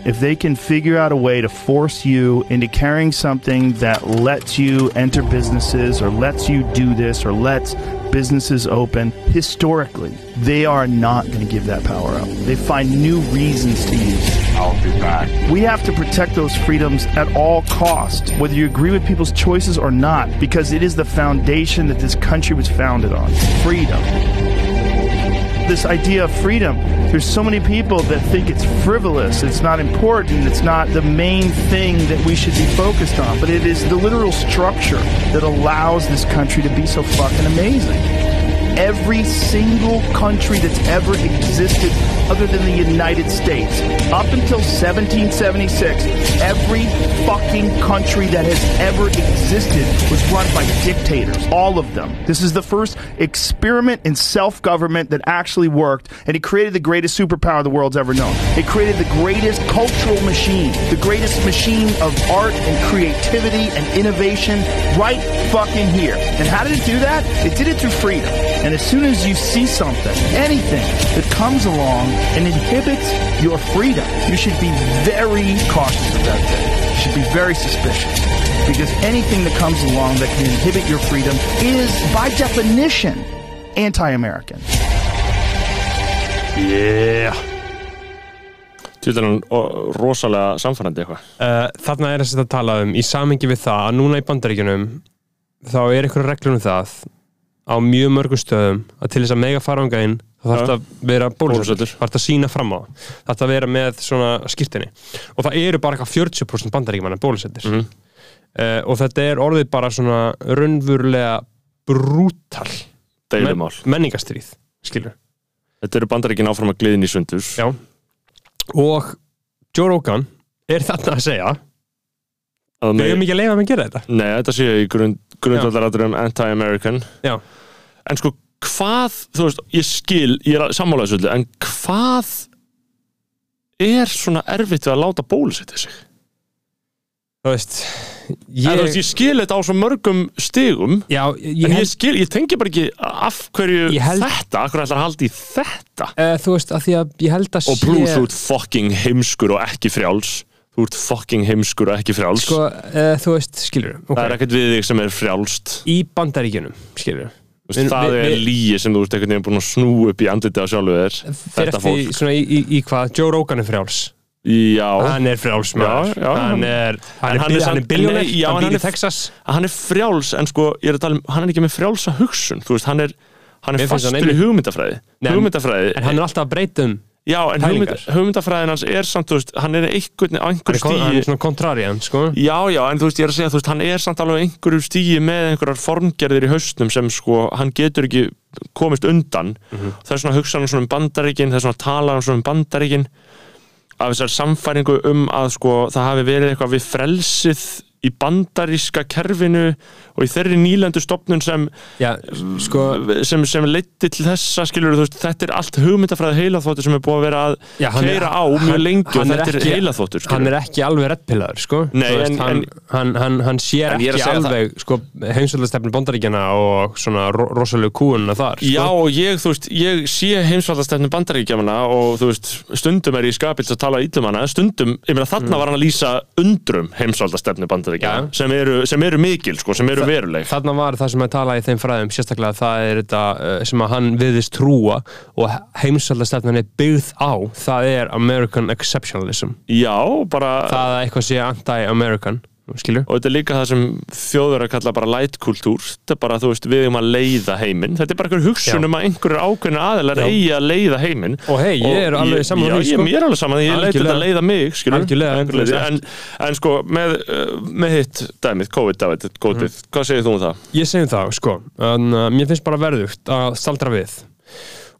C: if they can figure out a way to force you into carrying something that lets you enter businesses or lets you do this or lets businesses open, historically, they are not going to give that power up. They find new reasons to use it. We have to protect those freedoms at all costs, whether you agree with people's choices or not, because it is the foundation that this country was founded on freedom this idea of freedom. There's so many people that think it's frivolous, it's not important, it's not the main thing that we should be focused on, but it is the literal structure that allows this country to be so fucking amazing. every single country that's ever existed other than the United States. Up until 1776, every fucking country that has ever existed was run by dictators, all of them. This is the first experiment in self government that actually worked, and it created the greatest superpower the world's ever known. It created the greatest cultural machine, the greatest machine of art and creativity and innovation right fucking here. And how did it do that? It did it through freedom. And as soon as you see something, anything that comes along and inhibits your freedom, you should be very cautious about that. You should be very suspicious. Because anything that comes along that can inhibit your freedom is, by definition, anti American. Yeah.
A: Til dælan rosalega samfærandi eitthvað.
B: uh, þarna er þess að tala um í samengi við það að núna í bandaríkjunum þá er eitthvað reglur um það á mjög mörgum stöðum að til þess að mega faranga inn þá þarf
A: Já.
B: þetta að vera bólusettur
A: Bólusettur.
B: þarf þetta að sína fram á það. þarf þetta að vera með svona skýrtinni og það eru bara eitthvað 40% bandaríkjumanna bólusettir mm og þetta er orðið bara svona raunvurlega brútal
A: Deilumál.
B: menningastríð skilur
A: Þetta eru bandaríkin áfram að gliðin í sundus.
B: Já. og Joe Rogan er þarna að segja
A: Að
B: við
A: megi-
B: erum ekki að leifa með að gera þetta
A: Nei, þetta sé ég í grund, grundvallaratriðum anti-American
B: Já.
A: En sko, hvað, þú veist, ég skil ég er sammálaðið svolítið, en hvað er svona erfitt við að láta bólusetja sig?
B: þú veist
A: Ég,
B: ég,
A: en, þú veist, ég skil þetta á svo mörgum stigum
B: já, ég,
A: en
B: held,
A: ég skil, ég tengi bara ekki af hverju
B: Ég held-
A: þetta, af hverju ætlar að halda í þetta
B: uh, þú veist að því að ég held að
A: og plús, þú ert fucking heimskur og ekki frjáls þú ert fucking heimskur og ekki frjáls
B: sko, uh, þú veist, skilur
A: það er
B: okay.
A: ekkert við þig sem er frjálst
B: í bandaríkjunum, skilur
A: Þú veist, það er líi sem þú ert einhvern veginn búin að snú upp í andlitið á sjálfu þér
B: fyrir
A: þetta
B: eftir
A: fólk.
B: svona í, í, í hvað Joe Rogan er frjáls
A: Já,
B: hann er frjáls maður
A: Já, já,
B: hann
A: hann-
B: er,
A: en
B: hann
A: hann
B: er,
A: er
B: bíl-
A: samt-
B: hann er billionaire,
A: nei, já,
B: hann
A: en hann
B: býr í
A: er-
B: Texas
A: hann er frjáls en sko, ég er að tala um, hann er ekki með frjálsa hugsun þú veist, hann er, hann
B: Mér
A: er
B: finnst hann
A: fastur í
B: einmitt-
A: hugmyndafræði
B: Nei, en-
A: hugmyndafræði,
B: en hann er alltaf að breyta um
A: já, en
B: pælingar.
A: hugmynd, hugmyndafræðin hans er samt, þú veist, hann er einhvern á
B: hann
A: einhver
B: er, kon- hann
A: stíi,
B: er svona kontrarian sko.
A: já, já, en þú veist, ég er að segja þú veist, hann er samt alveg á einhverju stíi með einhverjar formgerðir í hausnum sem sko hann getur ekki komist undan
B: Mhm.
A: það er svona að hugsa hann svona um bandaríkin það er svona að tala hann svona um bandaríkin af þessar samfæringu um að sko það hafi verið eitthvað við frelsið í bandaríska kerfinu og í þeirri nýlendu stopnun sem
B: já, sko,
A: sem, sem leiddi til þessa skilur veist, þetta er allt hugmyndafræði heilaþvóttur sem er búið að vera að
B: Já, hann er-
A: keira á mjög
B: hann-
A: lengi og
B: hann er
A: þetta er
B: ekki-
A: heilaþvóttur
B: hann er ekki alveg reddpillaður sko.
A: Nei,
B: Þú
A: en-
B: hann,
A: en-
B: hann, hann, hann sér
A: En ég er að
B: ekki
A: segja
B: alveg sko, heimsvöldastefni bandaríkjana og svona ro rosalegu kúuna þar
A: Já
B: sko.
A: og ég, þú veist, ég sé heimsvaldastefnu bandaríkjamanna og þú veist, stundum er ég skapil til að tala ítlum hana, en stundum, ég meina þarna var hann að lýsa undrum heimsvaldastefnu
B: Mm. Já.
A: bandaríkjamanna sem, eru- sem eru mikil, sko, sem eru veruleg
B: þarna var það sem að tala í þeim fræðum sérstaklega það er þetta eh, sem að hann viðist trúa og heimsvöldastefnan er byggð á það er American exceptionalism
A: Já, bara,
B: það að eitthvað sé anti-American skilur
A: og þetta er líka það sem þjóður að kalla bara lætkultúr, þetta er bara, þú veist, við um að leiða heiminn, þetta er bara einhver
B: Já.
A: hugsun um að einhverjur ákveðna aðilar
B: Já.
A: eigi að leiða heiminn
B: Og hey, ég er alveg sammála
A: já,
B: því, sko.
A: ég, ég er alveg saman, ég leiti
B: Algjörlega.
A: þetta að leiða mig skilur,
B: Algjörlega, algjörlega.
A: en, en sko, með, uh, með hitt dæmið, COVID dæmið, COVID,
B: Mhm.
A: hvað segir þú um það?
B: Ég segjum það, sko en, uh, Mér finnst bara verðugt að staldra við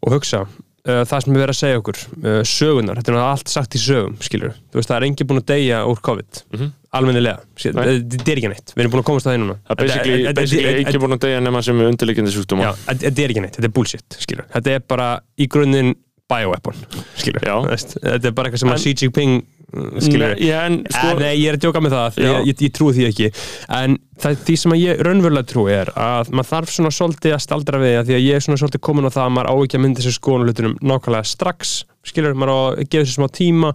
B: og hugsa uh, það sem við verðum að segja okkur uh, sögunar, þetta er náttúrulega allt sagt í sögum skilur, þú veist það er engin búin að deyja úr COVID, almennilega Skil-
A: Mhm. Nei.
B: þetta þetta er ekki neitt, við erum búin að komast að það núna
A: Það er basically,
B: Þetta- þetta-
A: basically
B: þetta-
A: ekki búin að deyja nema sem er undirleikindi sjúkdóma.
B: Já, þetta- þetta er ekki neitt, þetta er bullshit skilur, þetta er bara í grunninn bioweapon, skilur
A: Já.
B: Þú veist, þetta er bara eitthvað sem að
A: En-
B: Xi Jinping uh, skilur,
A: Nei, en
B: Sko,
A: sko,
B: nei, ég er að djóka með það,
A: Já.
B: ég, ég, ég trúi því ekki en það, því sem að ég raunverulega trúi er að maður þarf svona svolítið að staldra við það því að ég er svona svolítið komin á það að maður á ekki að mynda sér skoðan á hlutunum nákvæmlega strax skilur, maður á að gefa sér smá tíma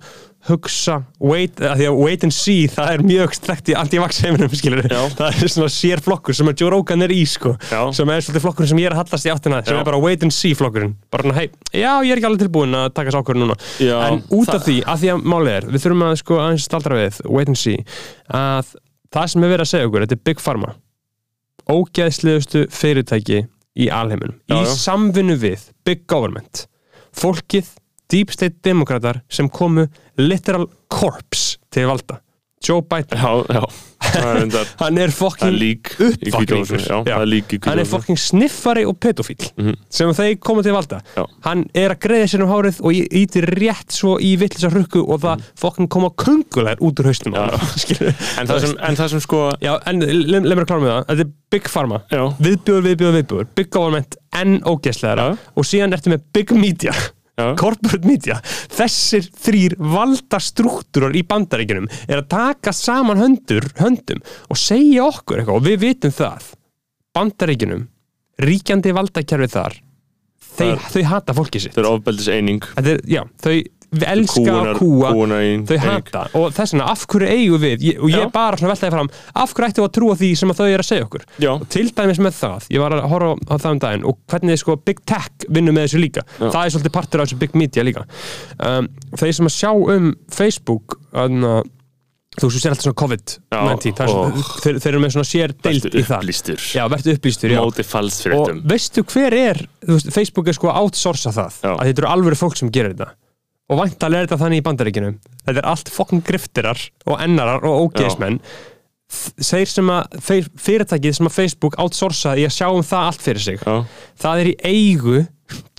B: hugsa, wait, að því að wait and see það er mjög þekkt í anti-vax heiminum skilur,
A: Já.
B: það er svona sér flokkur sem að Joe Rogan er í sko,
A: Já.
B: sem er svolítið flokkurinn sem ég er að hallast í áttina, sem
A: Já.
B: er bara wait and see flokkurinn, bara svona, hei, já, ég er ekki alveg tilbúin að taka sér ákvörðun núna,
A: Já,
B: en út
A: það-
B: af því, að því að málið er, við þurfum að sko aðeins staldra við, wait and see, að það sem er verið að segja okkur, þetta er Big Pharma, ógeðslegustu fyrirtæki í alheiminum,
A: Já, já.
B: í samvinnu við Big Government, fólkið, Deep State Demokratar sem komu literal corpse til valda, Joe Biden
A: já, já, það er undar
B: Hann
A: Það er
B: er fokkin
A: lík í
B: uppvakningur.
A: hvítuhúsinu Já, það er lík í
B: hann er
A: hvítuhúsinu
B: fokkin sniffari og pedofíl
A: Mhm.
B: sem þeir koma til valda
A: Já.
B: hann er að greiða sér um hárið og í- ítir rétt svo í vitlisar hrukku og það fokkin koma köngulegar út úr haustum
A: Mm.
B: á
A: Já.
B: honum, skilurðu.
A: En það sem, en það sem sko
B: Já, en leið mér að klára með það Þetta er Big Pharma
A: Já.
B: Viðbjóður, viðbjóður, viðbjóður Big Government en ógeðslegra
A: Já.
B: Og síðan ertu með Big Media
A: Já.
B: Corporate Media Þessir þrýr valda struktúrar í bandaríkjunum Er að taka saman höndur, höndum Og segja okkur eitthvað Og við vitum það Bandaríkjunum, ríkjandi valdakerfi þar þeir,
A: er-
B: Þau hata fólki sitt
A: Það er ofbeldis eining
B: Þetta er, já, þau elska að kúa
A: Kúunar eining
B: þau hata og þess vegna af hverju eigum við ég, og ég
A: Já.
B: bara svona veltaði fram af hverju ættum við að trúa því sem að þau eru að segja okkur
A: Já.
B: og til dæmis með það, ég var að horfa á- á það um daginn og hvernig sko Big Tech vinnur með þessu líka
A: Já.
B: það er svolítið partur af þessu Big Media líka um, þeir sem að sjá um Facebook anna, þú sem sér alltaf svona COVID-19
A: Já,
B: það er svona-
A: og-
B: þeir, þeir eru með svona sér deild
A: Vertu
B: í það
A: upplýstur.
B: já, verður upplýstur já.
A: Móti
B: og
A: falsfréttum
B: veistu hver er þú veist, Facebook er sko að outsourca það
A: Já.
B: að þetta eru alvöru fólk sem gerir þetta og væntalega er þetta þannig í bandaríkinu þetta er allt fokkin griftirar og ennarar og ógeðismenn þeir sem að þeir, fyrirtækið sem að Facebook outsourca í að sjá um það allt fyrir sig
A: Já,
B: það er í eigu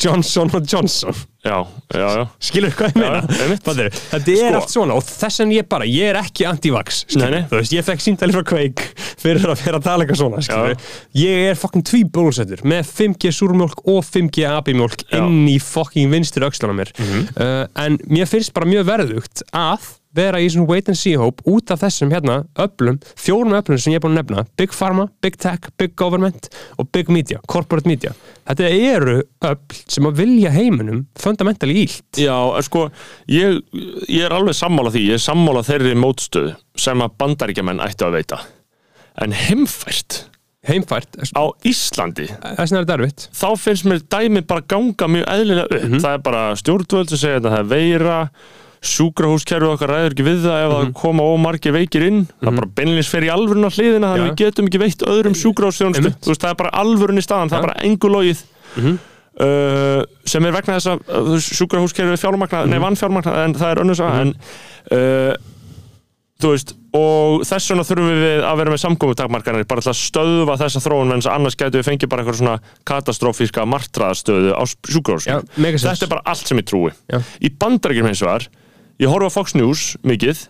B: Johnson Johnson
A: já, já, já
B: skilur hvað ég meina
A: já, einmitt.
B: Fattarðu? þetta er
A: Sko.
B: allt svona og þess en ég bara, ég er ekki anti-vax skilurðu.
A: Nei, nei.
B: þú veist, ég fekk símtæli frá Quake fyrir að vera að tala eitthvað svona skilurðu. ég er fokkin tví bólusettur með 5G súrmjólk og 5G abimjólk
A: Já. Mhm.
B: inn í fokkin vinstur öxlana mér uh, en mér finnst bara mjög verðugt að vera í svona wait and see hóp út af þessum hérna öflum, fjórum öflum sem ég er búin að nefna Big Pharma, Big Tech, Big Government og Big Media, Corporate Media þetta eru öfl sem að vilja heiminum fundamentali ílt
A: Já, en sko, ég, ég er alveg sammála því, ég er sammála þeirri mótstöðu sem að bandaríkjamenn ættu að veita. En heimfært
B: heimfært,
A: á Íslandi,
B: þess vegna er þetta erfitt
A: þá finnst mér dæmi bara ganga mjög eðlilega upp.
B: Mhm.
A: Það er bara stjórnvöld sem segja þetta, það er veira, sjúkrahúskerfið okkar ræður ekki við það ef
B: Mhm.
A: það koma ómargir veikir inn. Það bara beinleins fer í alvöruna hliðina þannig
B: Já.
A: við getum ekki veitt öðrum sjúkrahúsþjónustu.
B: Einmitt.
A: Þú veist, það er bara alvörun í staðan, það er
B: Já. Mhm.
A: bara engu logið. Uh, sem er vegna þess að uh, sjúkrahúskerfið er fjármagnað,
B: Mhm.
A: nei vannfjármagnað en það er önnur saga en uh, þú veist og þess vegna þurfum við að vera með samkomutakmarkanir bara til að stöðva þessa þróun en annars gætu við fengið bara eitthvað svona katastrófíska martraðastöðu á sjúkrahúsum þetta er bara allt sem ég trúi
B: Já.
A: í bandarækjum hins vegar ég horfa á Fox News mikið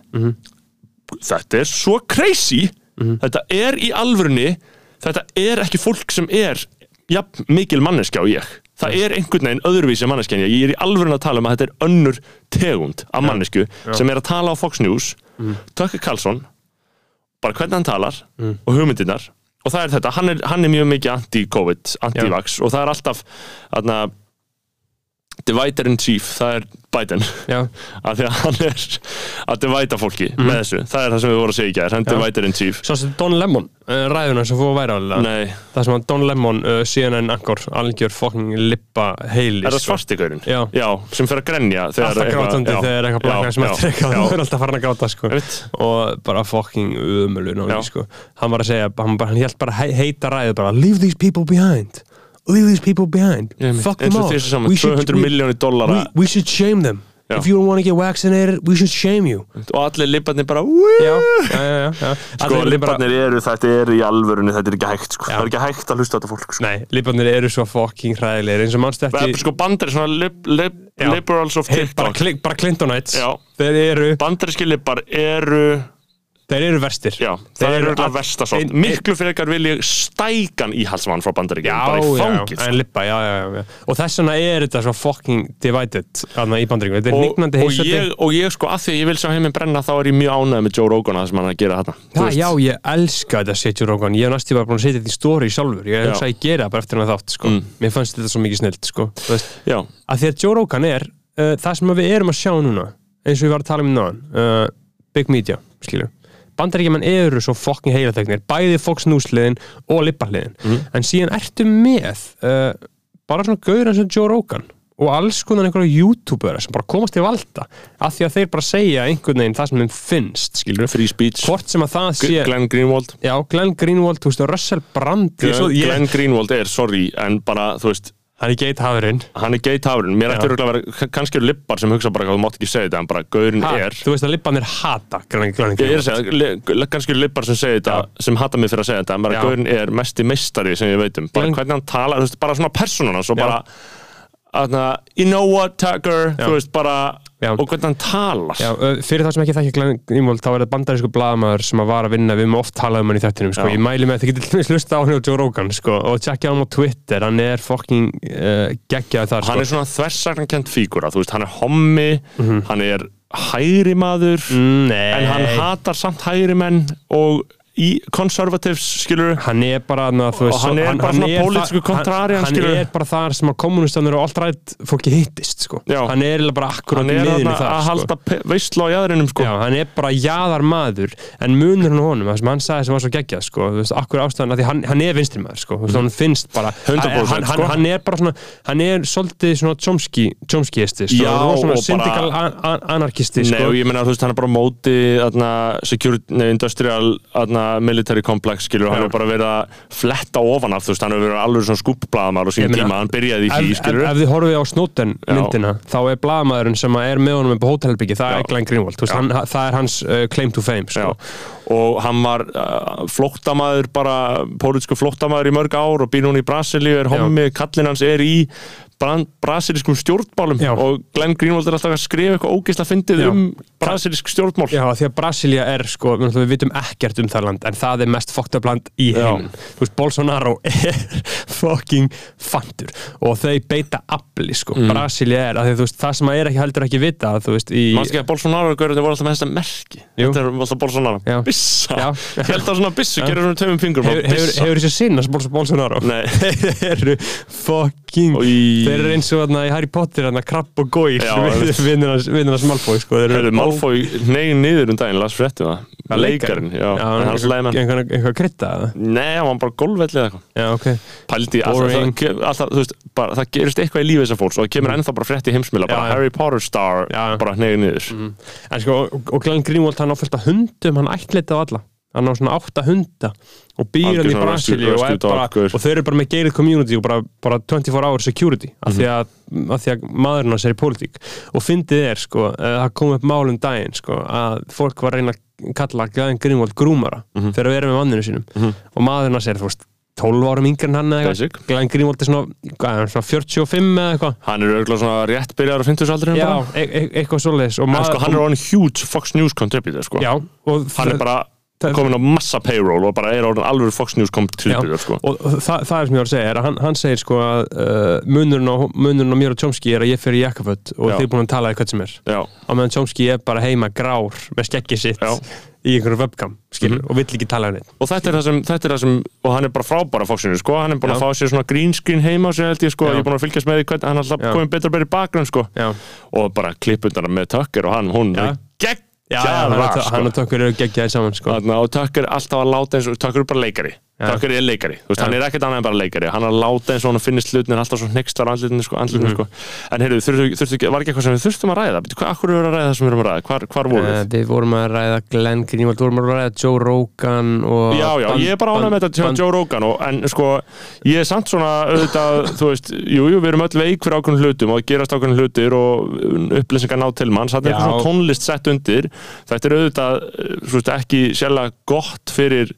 A: þetta er svo crazy þetta er í alvörunni þetta er ekki fólk sem er jafn mikil manneskja og ég það er einhvern veginn öðruvísi manneskja en ég ég er í alvörunni að tala um að þetta er önnur tegund af mannesku sem er að tala á Fox News Tucker Carlson bara hvernig hann talar
B: Mm.
A: og hugmyndirnar og það er þetta, hann er, hann er mjög mikið anti-covid, anti-vax og það er alltaf aðna, divider in chief, það er Biden
B: já,
A: af því að hann er að divæta fólki með þessu, það er það sem við vorum að segja í gær hann
B: Mhm. Já.
A: divætir in chief
B: svo sem Don Lemon uh, ræðuna sem fóðu að væra alveg
A: Nei,
B: það sem að Don Lemon uh, CNN angur algjör fokking lippa heili
A: er það
B: sko.
A: svartigaurin?
B: Já.
A: sem fer að grenja þegar
B: alltaf grátandi þegar eitthvað blakna sem að treka það er alltaf farin að gráta sko.
A: Einmitt.
B: og bara fokking umölu
A: Já.
B: náli, sko. hann var að segja, hann, bara, hann held bara he- heita ræðu bara, leave these people behind leave these people behind fuck
A: eins
B: them
A: og
B: all
A: þessi saman,
B: We should-
A: 200
B: we-
A: miljónir dollara
B: we, we should shame them
A: Já.
B: if you don't want to get vaccinated, we should shame you
A: og allir lipparnir bara "Woo!"
B: já, já, já, já,
A: sko,
B: já. Allir eru bara-
A: lipparnir eru, þetta er í alvörunni þetta er ekki hægt, sko.
B: Já.
A: það er ekki hægt að hlusta á þetta fólk sko.
B: Nei, libanir eru svo fucking hræðilegir eins og mannstu
A: Það er
B: ekki
A: sko bandar er svona lib, lib,
B: Já.
A: liberals of
B: hey, bara,
A: TikTok
B: kli, bara Clintonites
A: Já.
B: þeir eru,
A: bandaríski lippar eru
B: þeir eru verstir
A: Já,
B: Þeir
A: það er
B: eru
A: auðvitað
B: all-
A: versta sort
B: ein-
A: Miklu frekar vil ég stækan íhalsmann frá
B: Já,
A: bandaríkjum bara í fangið
B: já,
A: sko.
B: en lippa, já, já, já, já Og þess vegna er þetta svo fucking divided Þannig í bandaríkjum, þetta er
A: og,
B: nignandi
A: og,
B: heilsöti
A: ég, og ég sko, að því að ég vil sjá heiminn brenna þá er ég mjög ánægð með Joe Rogan að það sem hann er að gera þarna Þú
B: Já,
A: veist,
B: já, ég elska þetta Sitju Rogan Ég hef næstu bara búin að setja þetta í story sjálfur Ég hugsa að ég gera það bara eftir hann að
A: Mm.
B: þátt, sko Mér fannst þetta svo mikið snilt, sko Þú veist,
A: já,
B: að því að Joe Rogan er uh, það sem við erum að sjá núna eins og við varum að tala um náðan uh, Big Media, skilur bandaríkjumann eru svo fokkin heilatögnir bæði Fox News-liðin og Libba-liðin
A: Mhm.
B: en síðan ertu með uh, bara svona gauður eins og Joe Rogan og alls konar einhverja youtubera sem bara komast til valda af því að þeir bara segja einhvern veginn það sem þeim finnst, skilur
A: free speech,
B: hvort sem að það sé
A: Glenn Greenwald
B: Já, Glenn Greenwald, þú veist, og Russell Brand ég er svo-
A: Glenn,
B: ég-
A: Glenn Greenwald er, sorry, en bara þú veist,
B: Hann er geithafurinn
A: hann er geithafurinn, mér ætti
B: Já.
A: örugglega að vera kannski eru lippar sem hugsa bara hvað þú mátt ekki segja þetta en bara gaurinn
B: Ha,
A: er
B: Þú veist að Libbanir hata Grænlandi
A: Ég er að segja, li- li- kannski eru libbar sem segja þetta sem hata mig fyrir að segja þetta, en bara
B: Já.
A: Gaurin er mesti meistari sem ég veit um, bara
B: Glenn-
A: hvernig hann talar þú veist, bara svona persónuna, svo
B: Já.
A: bara aðna, you know what Tucker þú veist bara,
B: Já.
A: og hvernig hann talar
B: Já, ö, fyrir það sem ekki þekkja Glenn Greenwald þá er það bandarísku blaðamaður sem að var að vinna við höfum oft talað um hann í þettinum sko.
A: Já.
B: ég mæli með að þið getið til dæmis hlusta á hann og Joe Rogan sko, og tjekkja hann á Twitter, hann er fucking uh, geggjað þar
A: hann
B: sko.
A: er svona þversaknankent fígura, þú veist, hann er hommi hann er hægri maður
B: Mm, Nei,
A: en hann hatar samt hægri menn og í conservatives, skilur
B: hann er bara na, veist,
A: Og hann er bara svona pólitískur kontrari, hann
B: hann, hann
A: skilur.
B: er bara þar sem að kommunistanur og alt-rætt fólki hittist sko.
A: Já.
B: hann er eiginlega bara akkurat
A: hann er
B: miðinni
A: þarna
B: þar
A: að
B: sko.
A: halda pe- veislu á jæðrinum sko.
B: Já, hann er bara jaðar maður en munur hann honum, það sem hann sagði sem var svo geggjað sko, þú veist, akkur ástæðan að því hann, hann er vinstri maður, sko, þú veist, hann finnst bara
A: 100%
B: hann, hann,
A: sko.
B: hann er bara svona, hann er svolítið svona tjómski, tjómskiesti sko,
A: Já,
B: og
A: og
B: svona
A: bara-
B: syndikal an an anarkisti
A: Nei,
B: sko.
A: og ég meina, þú veist, hann er bara á móti atna, security, nei, industrial atna, military complex, skilur, hann
B: Já.
A: hefur bara verið að fletta ofan af, þú veist, hann hefur verið alveg svona skúpblaðamál og
B: Ég
A: sín
B: meina,
A: tíma, hann byrjaði í
B: ef,
A: því,
B: ef,
A: skilur
B: ef þið horfið á Snowden
A: Já.
B: myndina þá er blaðmaðurinn sem að er með honum upp á hótelherbyggi, það
A: Já.
B: er Glenn Greenwald þú veist, hann, það er hans uh, claim to fame
A: Já,
B: sko.
A: og hann var uh, flóttamaður bara, pólitísku flóttamaður í mörg ár og býr hún í Brasilíu, er hommi, kallinn hans er í bran- brasilískum stjórnmálum
B: Já.
A: og Glenn Greenwald er alltaf að skrifa eitthvað ógeisla fyndið
B: Já.
A: um brasilísk stjórnmál
B: Já, því að Brasilia er, sko, við náttúrulega vitum ekkert um það land, en það er mest fucked up land í
A: Já.
B: heiminn. Þú veist, Bolsonaro er fucking fantur og þau beita afli, sko.
A: Mm.
B: Brasilia er, að því, þú veist, það sem að er ekki heldur ekki vita, þú veist, í...
A: Manstu ekki að Bolsonaro görðin voru alltaf með þetta merki
B: Jú.
A: Þetta er alltaf Bolsonaro
B: Já.
A: Bissa
B: Já.
A: Ég held að svona bissu gerir svona tveimum fingur
B: Hefur, hefur, hefur þessi sinna sem Bols- Bolsonaro?
A: Nei
B: Þeir eru fucking...
A: Í-
B: Þeir eru eins og þarna í Harry Potter, þarna krabb og góil,
A: Já, einmitt.
B: vinnur hans Malfoy, sko. Þeir
A: Hefur Malfoy negin niður um daginn Las fréttum það Leikarinn Já,
B: Já,
A: en hans
B: einhver-
A: leiðmenn
B: einhver- einhver krytta, eða?
A: Nei, hann var bara gólvellið eitthvað
B: Já, ok.
A: Pældi, í alltaf,
B: Boring. Mm.
A: það, ge- alltaf, þú veist, bara, það gerist eitthvað í lífi þessar fólks og það kemur ennþá bara frétt í heimsmiðla bara
B: Já, já.
A: Harry Potter star,
B: Já.
A: bara negin niður
B: En sko, og- og Glenn Greenwald hann á fullt af hundum, hann ættleita á alla hann á svona átta hunda og býr
A: Algjör
B: hann í
A: svona
B: Brasilíu
A: rescue-
B: og, er
A: rescue dog,
B: bara,
A: gaur.
B: og þau eru bara með gated community og bara, bara 24 hour security
A: Mhm.
B: af, því að, af því að maðurinn hans er í politík og fyndið er sko eh, það kom upp málum daginn sko að fólk var að reyna að kalla Glenn Greenwald grúmara
A: Mhm.
B: fyrir að vera með manninu sínum og maðurinn hans er þú veist 12 árum yngri en hann eða
A: Basic.
B: eitthvað Glenn Greenwald er svona, hvað, er hann, svona 45 eða eitthvað
A: Hann er auðvitað svona rétt byrjar á 50 aldrinu
B: Já,
A: bara
B: e e eitthvað svoleiðis og
A: En sko, hann er on huge Fox News contributor sko.
B: Já, og
A: Hann er bara
B: það-
A: komin á massa payroll og bara er orðin alveg Fox News contributor sko.
B: og það, það er sem ég var að segja er að hann, hann segir sko að uh, munurinn, á, munurinn á mér og Tjómski er að ég fer í jakkaföld og
A: Já.
B: þið er búin að tala eitthvað sem er
A: Já,
B: á meðan Tjómski er bara heima grár með skeggið sitt
A: Já. Mhm.
B: í einhverju webcam skilur, og vill ekki tala um neitt
A: og þetta er það sem, þetta er það sem og hann er bara frábæra fóksinu, sko, hann er búin að
B: Já.
A: fá sér svona green screen heima á sér held ég, sko,
B: Já.
A: ég er búin að fylgjast með því hvernig hann er
B: Já.
A: alltaf komið betur og betur í bakgrunn, sko
B: Já.
A: og bara klippundana með Tucker og hann, hún
B: Já.
A: er
B: Já,
A: geggjara,
B: hann, og- hann
A: sko
B: og Tökkur eru geggjaði saman sko.
A: Þarna, og Tucker alltaf að láta eins og Tucker er bara leikari Tucker er leikari, þú veist, hann er ekkert annað en bara leikari hann er að láta eins og hann finnist hlutnir alltaf svo hnekstar andlutinu, sko, andlutinu, sko en heyrðu, þurftu, þurftu, ekki- var ekki eitthvað sem við þurftum að ræða Bíddu, hvað, akkur er að ræða það sem við erum að ræða, hvar, hvar vorum
B: Uh,
A: við?
B: við vorum að ræða Glenn Greenwald, við vorum að ræða Joe Rogan og
A: Já, já,
B: band-
A: ég er bara ánægð með þetta til
B: band-
A: Joe Rogan og, en sko, ég er samt svona auðvitað, þú veist, jú, jú, við erum öll veik fyrir ákveðin hlutum og það gerast ákveðin hlutir og um, upplýsingar ná til mann, satt er
B: Já.
A: eitthvað svona tónlist sett undir, þetta er auðvitað svo veist, ekki sérlega gott fyrir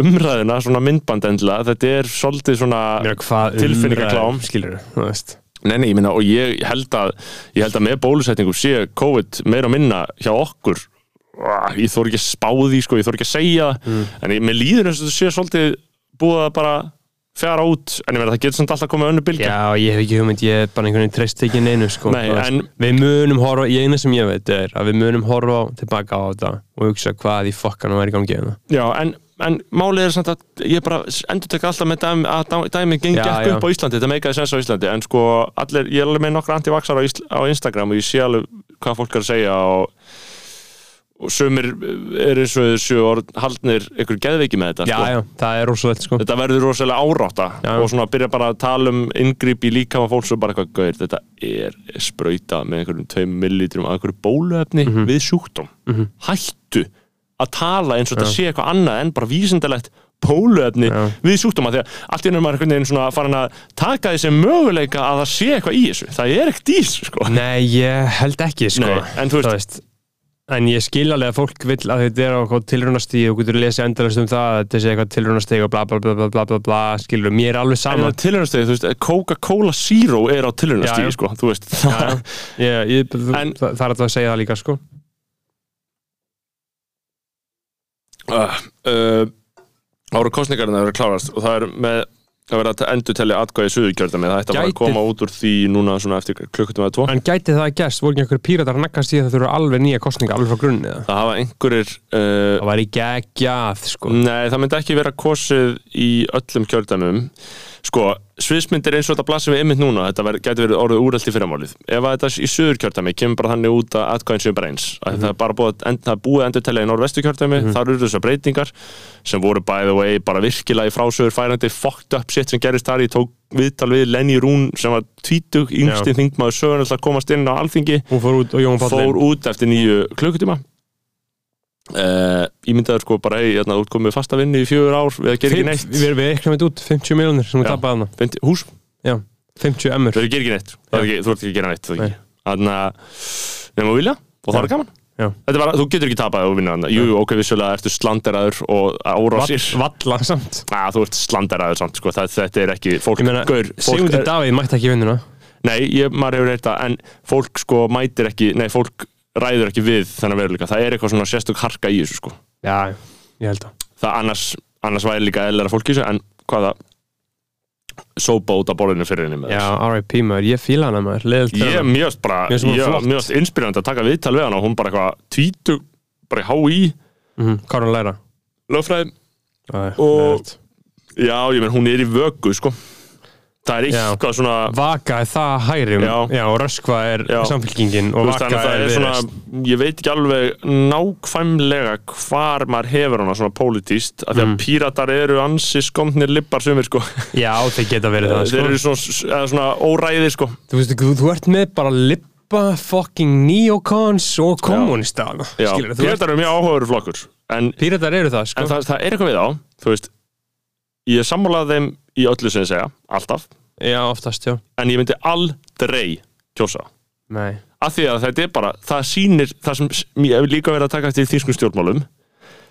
A: umræðina, svona myndband endilega, þetta er svolítið svona
B: Ég meina, hvað
A: Tilfinningaklám.
B: umræður, skilurðu, þú veist.
A: Nei, nei, ég minna, og ég held að ég held að með bólusetningum sé COVID meira og minna hjá okkur Ah, ég þór ekki að spá því, sko, ég þór ekki að segja það. en ég, mér líður eins og þetta sé svolítið búið að bara fjara út en ég meina, það getur samt alltaf komið önnu bylgja
B: Já, ég hef ekki hugmynd, ég er bara einhvern veginn treyst ekki neinu sko.
A: Nei,
B: Þú veist,
A: en-
B: Við munum horfa, ég eina sem ég veit er að við munum horfa á- tilbaka á þetta og hugsa hvað í fokkanum er í gangi hérna.
A: Já, en, en málið er samt að ég bara endur tekka alltaf með dæmi að dæmi, dæmi geng
B: Já,
A: gekk
B: já.
A: upp á Íslandi, þetta meikaði sens á Íslandi en sko, allir, ég er alveg með nokkra antivaxar á, Ísl- á Instagram og ég sé alveg hvað fólk er að segja og, og sömur er eins og þessu orð haldnir ykkur geðveiki með þetta
B: Já,
A: sko.
B: já, það er rosalegt sko.
A: þetta verður rosalega árátta
B: Já.
A: og svona byrja bara að tala um ingrip í líkama fólks og bara eitthvað gauðir, þetta er sprauta með einhverjum 2 millilitrum af einhverju bóluefni Mhm. við sjúkdóm hættu að tala eins og þetta sé eitthvað annað en bara vísindalegt bóluefni
B: Já.
A: við sjúkdóma þegar allt í einu er maður einhvern veginn svona farin að taka þessi möguleika að það sé eitthvað í þessu það er ekkert í þessu sko
B: Nei, ég held ekki sko.
A: Nei, en þú veist-
B: En ég skil alveg að fólk vill að þetta er á eitthvað tilraunastíð og getur lesið endalast um það að þetta sé eitthvað tilraunastíð og bla bla bla bla bla bla bla skilur, mér er
A: En
B: alveg sama
A: það tilhörnastegi, þú veist, Coca-Cola Zero er á
B: Já, já.
A: tilhörnastegi, sko, þú veist
B: Já, já. ég, ég,
A: En-
B: það, það er alltaf að segja það líka sko.
A: uh, uh, ára kostningarinn að vera að klárast og það er með að vera að endur telja atkvæði suðurkjördami það ætti að fara að
B: Gæti-
A: koma út úr því núna svona eftir klukkutum eða tvo
B: En gæti það að gerst, voru ekki einhver píratar að naggast í að það þurfa alveg nýja kostninga alveg frá grunni eða?
A: það hafa einhverjir uh,
B: Það væri geggjað sko.
A: Nei, það myndi ekki vera kosið í öllum kjördæmum Sko, sviðsmyndir eins og þetta blasir við einmitt núna Þetta ver, gæti verið orðið úrælt í fyrramálið Ef að þetta í söður kjördæmi kemur bara þannig út að atkvæðin séu bara eins mm Það er bara búið, að end, það er búið endur telja í norðvestu kjördæmi Þar eru þessar breytingar sem voru by the way bara virkilega í frásögur færandi fucked up shit sem gerist þar Ég tók viðtal við Lenny Rún sem var tvítug yngsti þingmaður sögurinn til að komast inn á alþingi
B: Hún fór út og Jón Páll
A: fór
B: inn.
A: út eftir nýju klukkutíma uh, ég myndi að sko bara hei, hérna, þú ert komið fast að vinna í fjögur ár við að gera ekki
B: Fimm-
A: neitt
B: Við við reiknum þetta út, 50 miljonir sem við
A: Já.
B: tapaði hana
A: Fimmti- hús,
B: 50 emur
A: við að gera ekki neitt Það er ekki, þú ert ekki að gera neitt það er
B: Nei.
A: ekki. þannig að nema vilja og það
B: Já.
A: er gaman
B: Já.
A: Þetta var, þú getur ekki tapað og vinna hann jú, jú, ok, vissulega ertu slanderaður og árásir
B: Vall- Valla samt
A: að þú ert slanderaður samt sko, það, þetta er ekki fólk,
B: Ég meina,
A: gaur, fólk
B: Sigmundur
A: er,
B: Davíð mætti ekki í vinnuna
A: nei, ég, maður hefur reyta en fólk sko mætir ekki, nei, fólk ræður ekki við þennan veruleika, það er eitthvað svona sérstök harka í þessu sko
B: Já, ég held að
A: það annars, annars væri líka eðlera fólk í þessu en hvaða sópa út af borðinu fyrir henni með
B: Já,
A: þess
B: R.I.P. maður, ég fíla hana maður Leðilt
A: ég er mjög bara,
B: Mér finnst hún
A: ég
B: flott.
A: er mjög inspirandi að taka viðtal við hana og hún bara eitthvað tvítu, bara í hái
B: Hvað er hún að Mhm, læra?
A: lögfræði,
B: Æ,
A: Og-
B: leðilegt.
A: já ég menn hún er í vögu sko, það er
B: Já.
A: eitthvað svona
B: Vaka er það hægri um-
A: Já.
B: Já, og Röskva er
A: Já.
B: samfélkingin og
A: þú veist,
B: Vaka
A: þannig að það
B: er
A: er
B: viðreist
A: svona ég veit ekki alveg nákvæmlega hvar maður hefur hana svona pólitíst af því að
B: Mm.
A: píratar eru ansi skomnir lippar sumir sko,
B: Já, þeir geta verið það
A: þeir
B: sko.
A: eru svona, eða svona óræðir sko
B: Þú veist, þú, þú ert með bara lippa fucking neocons og kommunista
A: Já,
B: Skilur, þú ert
A: Píratar eru mjög áhugaveru flokkur en,
B: Píratar eru það, sko
A: en það, það er eitthvað við á Þú veist, ég er sammálaði þeim í öllu sem ég segja, alltaf
B: Já, oftast, já
A: En ég myndi aldrei kjósa
B: Nei
A: Af því að þetta er bara, það sýnir Það sem s- ég hef líka verið að taka eftir í þýskum stjórnmálum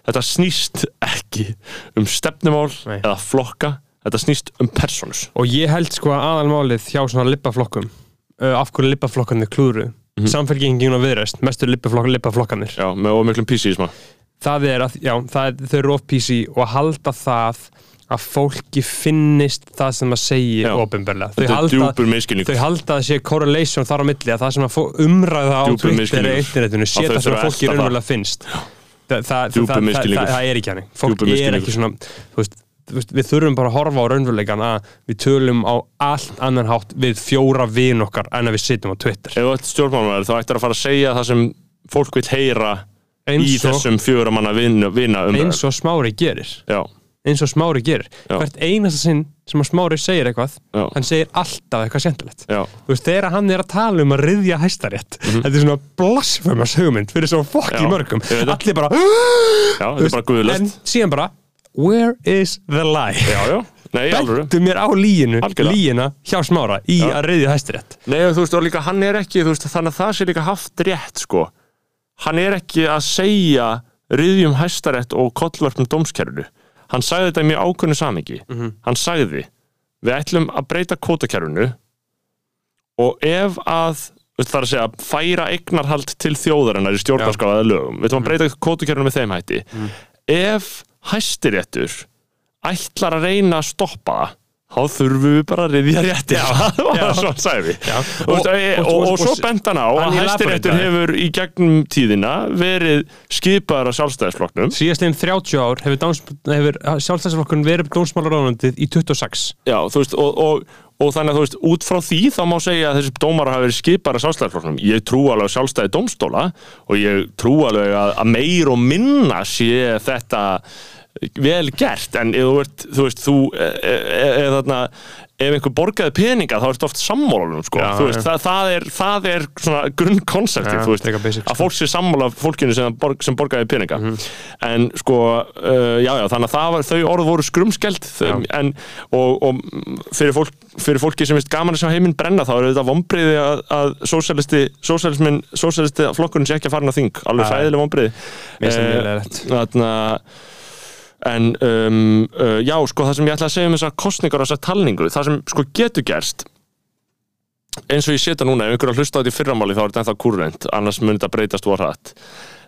A: Þetta snýst ekki um stefnumál
B: Nei.
A: eða flokka Þetta snýst um personus
B: Og ég held sko að aðalmálið hjá svona lippaflokkum uh, af hverju lippaflokkarnir klúru
A: Mhm.
B: mm -hmm. samfélkingin og viðreist, mestur lippaflokk, lippaflokkarnir
A: Já, með ómiklum písísma
B: það er að, já, það er, þau eru of PC og að halda það að fólki finnist það sem það segir
A: Já.
B: ofinbarlega, þau
A: Þetta er
B: halda
A: djúpur miskinning
B: þau halda að sé correlation þar á milli að það sem að fó- umræða á
A: Djúpur
B: Twitter eða
A: misskilningur.
B: internetinu sé
A: Að þau
B: það sem
A: þurfa
B: að
A: að
B: fólki
A: elta það.
B: raunverulega finnst það, það, það,
A: Djúpur
B: það, það,
A: misskilningur.
B: það, það er ekki hannig fólk
A: Djúpur
B: er
A: misskilningur.
B: ekki svona þú veist, þú veist, við þurfum bara að horfa á raunveruleikan að við tölum á allt annan hátt við fjóra vin okkar en að við sitjum á Twitter
A: Ef þú ert stjórnmálumæður þá ættir að fara að segja það sem fólk vil heyra í
B: eins og,
A: þessum fjögur manna vina, vina um
B: eins og smári gerir
A: Já,
B: eins og smári gerir
A: Já.
B: hvert einasta sinn sem að smári segir eitthvað
A: já,
B: hann segir alltaf eitthvað skemmtilegt
A: já
B: þú veist, þegar hann er að tala um að riðja hæstarétt þetta er svona blasfemars hugmynd fyrir svo fokki
A: Mhm. Já,
B: mörgum
A: ég veit það.
B: allir bara,
A: Já, þetta er bara
B: en
A: guðlöst
B: síðan bara where is the lie
A: Já, já, nei, alveg
B: bentu mér á líinu,
A: Algjörlega.
B: líina hjá smára í
A: Já.
B: að riðja hæstarétt
A: Nei, og þú veist, og líka hann er ekki, þú veist, þannig að það sé líka haft rétt, sko Hann er ekki að segja riðjum hæstarétt og kollvörpum dómskerfinu Hann sagði þetta í mjög ákunnu samingi Hann sagði, við ætlum að breyta kótakerfinu og ef að þú veist, það er að segja, færa eignarhald til þjóðarinnar í stjórnarskráða lögum við ætlum að breyta kótakerfinu með þeim hætti Ef hæstiréttur ætlar að reyna að stoppa það þá þurfum við bara að riðja rétti það var svo hann sagði
B: Já.
A: og, og, og, og, og svo bent hann á
B: Hann
A: að
B: elaborateaði.
A: hæstiréttur hefur í gegnum tíðina verið skipaður af sjálfstæðisflokknum
B: síðastlegin 30 ár hefur, dáns- hefur sjálfstæðsflokkun verið dómsmálaráðunandið í 26
A: Já, þú veist, og, og, og þannig að þú veist, út frá því þá má segja að þessi dómar hafa verið skipaður af sjálfstæðisflokknum ég trú alveg á sjálfstæði dómstóla og ég trú alveg að, að meir og minna sé þetta vel gert en ef þú ert, þú veist, þú e, e, e, e, þarna, ef einhver borgaði peninga þá ertu oft sammálanum sko.
B: Já,
A: Þú veist,
B: já.
A: það, það, er, það er svona grunnkonceptið
B: Já,
A: þú veist,
B: frekar basic,
A: að fólk sé sammála fólkinu sem, það borg, sem borgaði peninga en sko, uh, já já þannig að það var, þau orð voru skrumskeld þau- en, og, og fyrir, fólk, fyrir fólki sem veist gaman að sjá heiminn brenna þá eru þetta vombriði að, að sósælisti, sósælismin, sósælisti flokkurinn sé ekki að fara inn á þing, alveg
B: Já.
A: fræðileg vombriði
B: Mér finnst það leiðilegt.
A: Þannig að En um, uh, já, sko, það sem ég ætla að segja um þessar kostningar og þessar talningu, það sem sko getur gerst eins og ég setja núna, ef einhverja hlusta á þetta í fyrramáli þá er þetta ennþá kúrrend, annars mun þetta breytast og hratt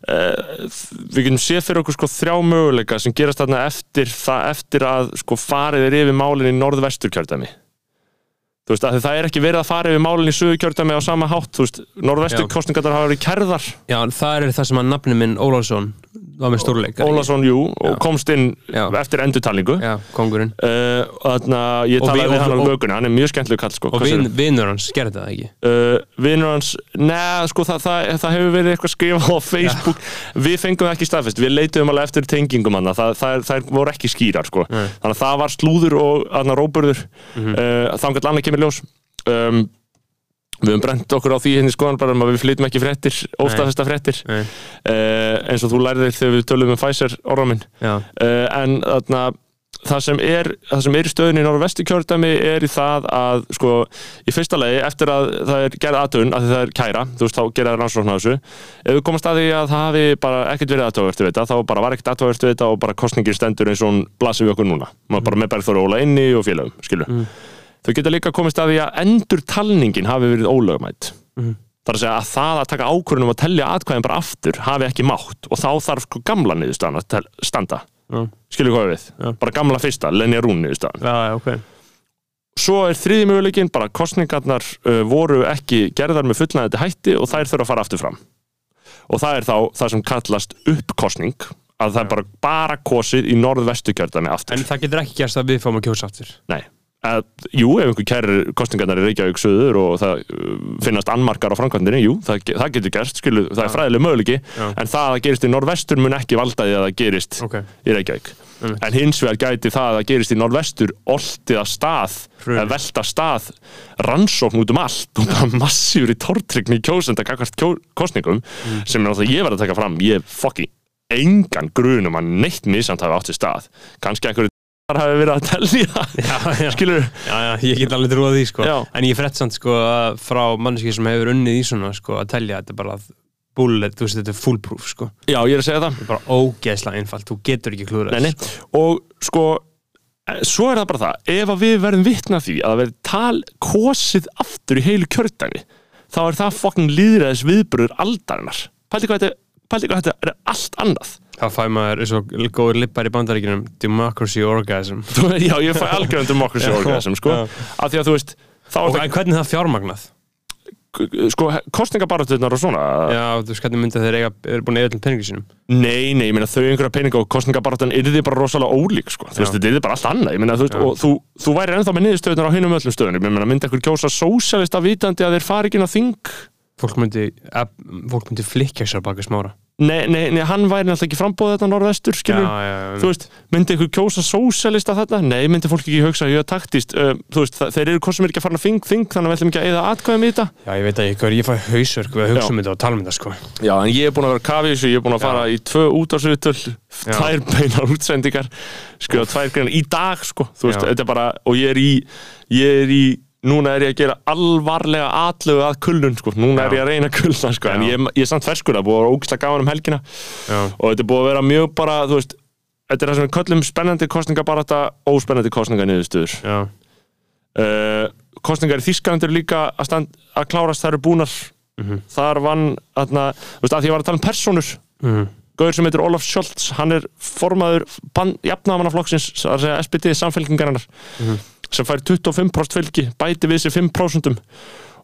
A: uh, Við getum séð fyrir okkur sko þrjá möguleika sem gerast þarna eftir, það, eftir að sko farið er yfir málin í norðvesturkjördæmi Þú veist, að það er ekki verið að fara yfir málin í suðurkjördæmi á sama hátt, þú veist, norðvesturkostningarnar hafa verið kærðar
B: Já, en það er það sem að nafni minn Ólafsson var með stórleik er ekki?
A: Ólason, jú, og
B: Já.
A: komst inn
B: Já.
A: eftir endurtalningu
B: Já, kongurinn
A: Uh, Þannig að ég
B: Og
A: talaði
B: vi-
A: við
B: og-
A: hann á
B: og-
A: vökunni, hann er mjög skemmtileg kall sko,
B: Og
A: hvað
B: vin,
A: segirðu?
B: vinur hans gerði það ekki
A: uh, Vinur hans, neða sko það, það, það hefur verið eitthvað skrifað á Facebook Við fengum það ekki staðfest, við leituðum alveg eftir tengingum hann það, það, það voru ekki skýrar sko
B: Nei.
A: Þannig að það var slúður og þarna, róburður mm
B: Mhm.
A: -hmm. uh, Þangat annað kemur í ljós um, Við höfum brent okkur á því henni skoðan bara um að við flytum ekki fréttir, óstaðfesta fréttir
B: Nei.
A: uh, eins og þú lærðir þegar við tölum um Pfizer orða minn
B: Já,
A: uh, en þarna það sem er, það sem er í stöðunni í norvestikjördæmi er í það að sko, í fyrsta lagi, eftir að það er gerð aðtöfun, að það er kæra, þú veist, þá gera það rannsókn á þessu, ef við komast að því að það hafi bara ekkert verið aðtöfuvert við þetta, þá bara var ekkert aðtöfuvert við þetta og bara kostningin stendur eins og hún blasir við okkur núna, maður bara með Bergþór Óla inni og félögum, skilu þau geta líka komist að því að endur talningin hafi verið ólögmætt
B: Mhm.
A: þar að segja að það að taka ákvörunum að tellja atkvæðin bara aftur hafi ekki mátt og þá þarf sko gamla niðurstaðan að tel- standa
B: Já.
A: skilur hvað ég við,
B: Já.
A: bara gamla fyrsta Lenja Rún niðurstaðan.
B: já, já, ok
A: Svo er þriði möguleikin bara kostningarnar uh, voru ekki gerðar með fullnæðandi hætti og þær þurfa að fara aftur fram og það er þá það sem kallast uppkostning að það er bara, bara kosið í norðvestukjördami aftur.
B: En það getur ekki gerst að við fáum að kjósa aftur
A: Nei. Að, jú, ef einhver kærir kostningarnar í Reykjavík söður og það uh, finnast annmarkar á framkvæmdinni, jú, það, ge- það getur gerst, skilu, það er fræðileg möguleiki,
B: Já.
A: en það að það gerist í norðvestur mun ekki valda því að það gerist
B: Ok,
A: í Reykjavík.
B: Einmitt.
A: En hins vegar gæti það að það gerist í norðvestur oltið að stað,
B: Hrunið.
A: að velta stað rannsókn út um allt og bara massífur í tortryggni kjósenda kakvart kjó, kostningum
B: Mm.
A: sem er náttúrulega ég verð að taka fram, ég hef fucking engan grunum að neitt misamt hafi átt í stað. Kanski einhverju þar hafi verið að telja,
B: já, já,
A: skilur
B: já, já, ég get alveg trúið því sko.
A: Já.
B: En ég frett samt sko, að frá mannski sem hefur unnið í svona sko, að telja þetta er bara bullet, þú veist þetta er foolproof sko.
A: Já, ég er að segja það
B: Þetta er bara ógeðslega einfalt, þú getur ekki klúður
A: Nei, nei. Og sko, eh, svo er það bara það Ef að við verðum vitna því að það verði tal kosið aftur í heilu kjördæmi þá er það fokkin líðræðis viðbröður aldarinnar Pældi hvað þetta, pældi hvað þetta er allt annað
B: Þá fæ maður eins og góður lippar í bandaríkinum Democracy Orgasm
A: Þú veist, Já, ég fæ algjörðan democracy
B: Já,
A: orgasm, sko
B: já.
A: Af því að þú veist, þá er
B: Og en hvernig er það fjármagnað?
A: það sko, kostningabaratuðnar og svona
B: Já, þú veist hvernig myndið þeir eiga, eru búin að eiga allir peningum sínum
A: Nei, nei, ég meina þau einhverja peninga og kostningabaratan yrði bara rosalega ólík, sko. Þú veist,
B: Já.
A: þetta yrði bara allt annað. Ég meina, þú veist, og þú, þú væri ennþá með niðurstöðunar á hinum öllum stöðunum. Ég meina, myndi ekkur kjósa sósialista vitandi að þeir fari ekki inn á þing?
B: Fólk myndi, eh, fólk myndi flikja sér baka smára
A: Nei, nei, nei, hann væri náttúrulega ekki frambóð þetta norðvestur, skilur.
B: já,
A: Þú veist, myndi ekkur kjósa sósialista þetta? Nei, myndi fólk ekki hugsa, ég er taktist. Uh, þú veist, það- þeir eru hvort sem er ekki að fara inn á þing, þing, þannig að við ætlum ekki að eyða atkvæðum í þetta.
B: já, ég veit að ég, ég fæ hausverk við að hugsa
A: Já.
B: um þetta og tala um þetta sko
A: Já, en ég er búin að vera kafi þessu, ég er búin að fara í tvö útvarsuðutöl,
B: Já.
A: tvær beinar útsendingar, skrifa tvær greinar í dag, sko, þú veist,
B: Já.
A: þetta er bara, og ég er í, ég er í, núna er ég að gera alvarlega atlögu að kulnun, sko, núna er
B: Já.
A: ég að reyna að kulna, sko, en
B: Já.
A: ég, ég er samt ferskur, það er búið að vera ógislega gaman um helgina
B: Já,
A: og þetta er búið að vera mjög bara, þú veist, þetta er það sem við köllum spennandi kostninga bara þetta, óspennandi kostninga niðurstöður.
B: já,
A: Uh, kostningar í Þískanandur líka að, stand, að klárast, það eru búnar,
B: Mhm.
A: þar vann, þarna, þú veist, að því ég var að tala um personur,
B: mm.
A: Gauður sem heitir Ólaf Scholz, hann er formaður jafnaðamannaflokksins, það er að segja SPD samfélkingarinnar, sem fær 25% fylgi, bæti við sér 5%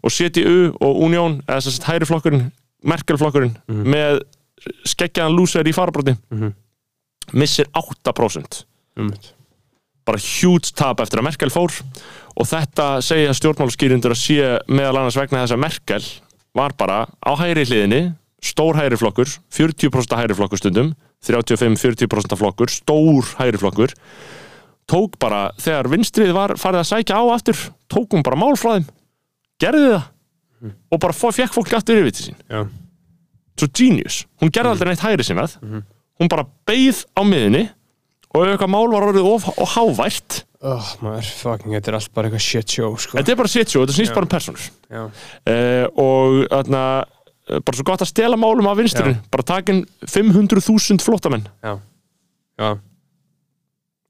A: og CDU og Union, eða þess að hæri flokkurinn, Merkel flokkurinn, með skeggjaðan lúser í farabróti,
B: Mhm.
A: missir 8%.
B: um
A: Bara huge tap eftir að Merkel fór og þetta segja stjórnmálskýrindur að sé meðal annars vegna þess að Merkel var bara á hæri hliðinni stór hæri flokkur, 40% hæri flokkur stundum 35-40% flokkur, stór hæri flokkur tók bara, þegar vinstrið var farið að sækja á aftur, tók hún bara mál frá þeim gerði það og bara fó- fékk fólk aftur yfir til sín
B: Já.
A: svo genius, hún gerði aldrei neitt hægri sinnað hún bara beigð á miðinni og ef eitthvað mál var orðið of og hávært,
B: Oh, maður, fucking, þetta er allt bara eitthvað shit show, sko.
A: þetta er bara sitjó, þetta snýst bara um personur
B: Já.
A: eh, og þarna eh, bara svo gott að stela málum af vinstrinu bara takin 500.000 flottamenn
B: Já. Já.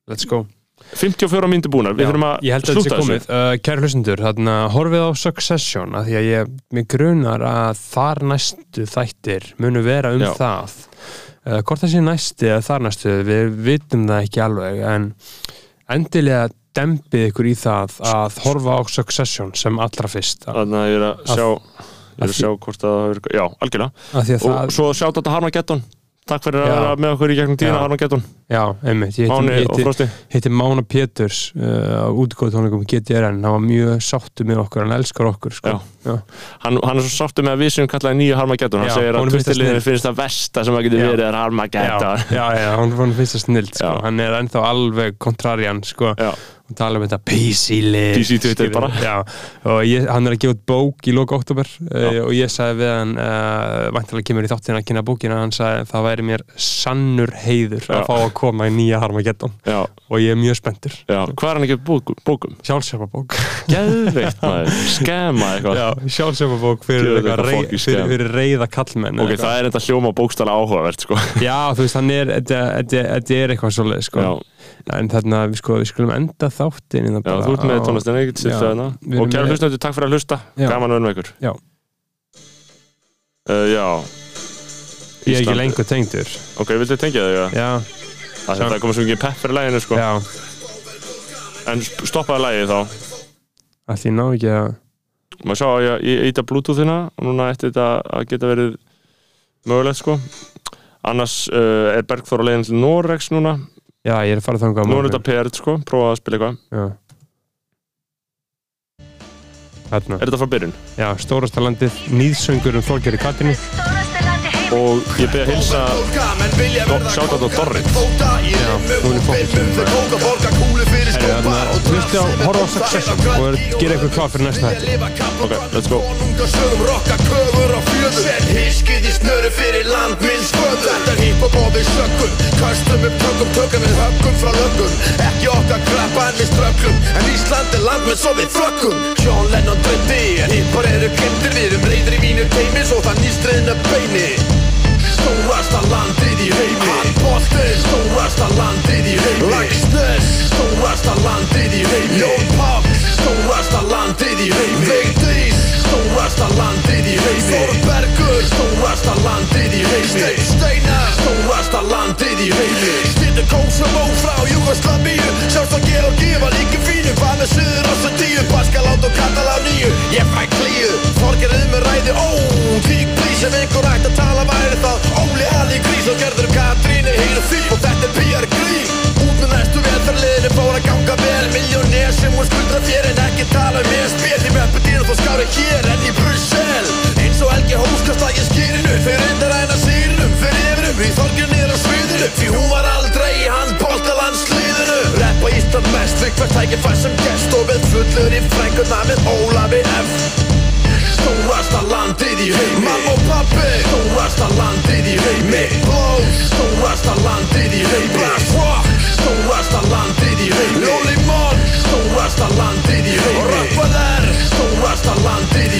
B: Let's go.
A: 54 myndir búnar, við þurfum að
B: ég held að þetta sé
A: slúta
B: komið uh, kæru hlustendur, þarna horfið á Succession að því að ég, mér grunar að þar næstu þættir munu vera um
A: Já.
B: það uh, hvort það sé næsti eða þar næstu við vitum það ekki alveg en endilega dembið ykkur í það að horfa á Succession sem allra fyrst að,
A: Þannig að ég er að sjá Ég er
B: að
A: að sjá hvort að það hefur Já, algjörlega
B: að því að
A: Og
B: það,
A: svo sjátt þetta Harmageddon Takk fyrir
B: Já.
A: að vera með okkur í gegnum tíðina
B: Já.
A: Harmageddon
B: já, einmitt ég
A: Máni
B: hitti,
A: og
B: hitti,
A: Frosti
B: hitti Mána Péturs uh, á útgóð tónleikum GTRN, hann var mjög sáttu með okkur, hann elskar okkur sko.
A: Já. hann, hann er svo sáttu með að við sem kallaði nýju Harmageddon Hann
B: Já,
A: segir
B: honum
A: að
B: finnst það
A: Twitterliðinu
B: sniðugt.
A: finnst það versta sem að getur
B: Já.
A: verið er
B: já,
A: Harmageddon
B: já, já, hann fann fyrst að snild sko.
A: Já.
B: hann er ennþá alveg kontrarian sko.
A: Já.
B: og tala um þetta PC-lið
A: PC Twitter bara.
B: já. og ég, hann er að gefa út bók í loka oktober uh, og ég sagði við hann uh, væntalega kemur í þáttina að kynna bókina hann sagði það væri mér sannur heiður
A: Já.
B: að fá að koma í nýja Harmageddon
A: Já,
B: og ég er mjög spenntur
A: já Hvað er hann ekki bókum? bókum?
B: sjálfsjöfa bók
A: Geðveikt maður Skema eitthvað
B: sjálfsjöfa bók fyrir,
A: Djöfull,
B: eitthvað
A: þetta
B: rei,
A: fólk í
B: fyrir,
A: skefum.
B: fyrir reyða kallmenn
A: Ok, það er enda hljóma bókstala áhugavert sko
B: Já, þú veist, hann er, þetta þetta- þetta er eitthvað svoleið, sko.
A: Já,
B: En þarna, við, sko, við skulum enda hérna þáttin Já,
A: já þú ert með tónlistin ekkert sitt
B: Já,
A: þarna
B: við erum
A: hérna. Og kæra
B: með-
A: hlustandi, takk fyrir að hlusta
B: Já.
A: Gaman að vera með ykkur
B: Já.
A: Uh, Já
B: Ég er ekki
A: Ísland-
B: lengur tengdur
A: Ok, viltu tengja þig að
B: Já,
A: að þetta komið svo mikið pepp fyrir læginu sko
B: já,
A: En sp- stoppaði lægið þá
B: allt ég ná ekki að
A: Maður sá að ég- ég eita bluetoothina og núna ætti þetta að geta verið mögulegt sko Annars uh, er Bergþór á leiðin til Norex núna
B: Já, ég er að fara þangað á
A: Nú er
B: morgun.
A: þetta paired sko, prófaði að spila eitthvað
B: Já Þarna,
A: Er þetta frá byrjun?
B: já, stórasta landið Nýðsöngur um Þorgeri Katrínu
A: Og ég beði að hilsa Sjátt á Dorrit
D: Já,
B: hún er fókusinn.
D: Herri,
B: þarna, hlustu á horfa eh, á Succession og er, gera eitthvað klár fyrir næsta hætti
D: Ok,
A: let's go.
D: Sögum rokka köfur á fjöðu Sett hiskið í snöru fyrir land minns föðu Þetta er hiphop og við sökkum Köstum upp tökum, tökum við höggum frá löggum Ekki okkar krabba en við strögglum En Ísland er land með svo við flökkum John Lennon dröndi En hiphar eru glemdir Við erum reyðir í mínu teimi Svo það nýstriðna beini Stórasta landið í heimi Handbóttir Stórasta landið í heimi Lagsnes Stórasta landið í heimi Jón Pál Stórasta landið í heimi Vigdís Stórasta landið í heimi Þorbergur Stórasta landið í heimi Steinn Steinar Stórasta landið í heimi Stýttu Kosovo frá Júgoslavíu Sjást að Georgíu var líka fínu Hvað með Suður Ossetíu Baskaland og Katalaníu Ég fæ klíu Þorgerið með ræði ó Tík blís ef einhver ætti að tala væri það Óli Ali Grís og Gerður Katrínu hýru því Og þetta er PR grín Út með næstu velferðliðinu fór að ganga vel Miljónér sem hún skuldra þér en ekki tala um ESB Því með appetínu þá skári hér en í Brussel Eins og Helgi Hóskast að ég skýrinu Þeir reyndar að hennar sýrinum Fyrir yfirum í þorgir niður á sviðinu Því hún var aldrei í handbólta landsliðinu Reppa Ísland mest við hvert tækifær sem gest Og við fullur í frækuna með Ólafi F Stórasta landið í heimi Mamma og pappi Stórasta landið í heimi Blóð Stórasta landið í heimi Blast Rock Stórasta landið í heimi Lóli Món Stórasta landið í heimi Rökkvaler Stórasta landið í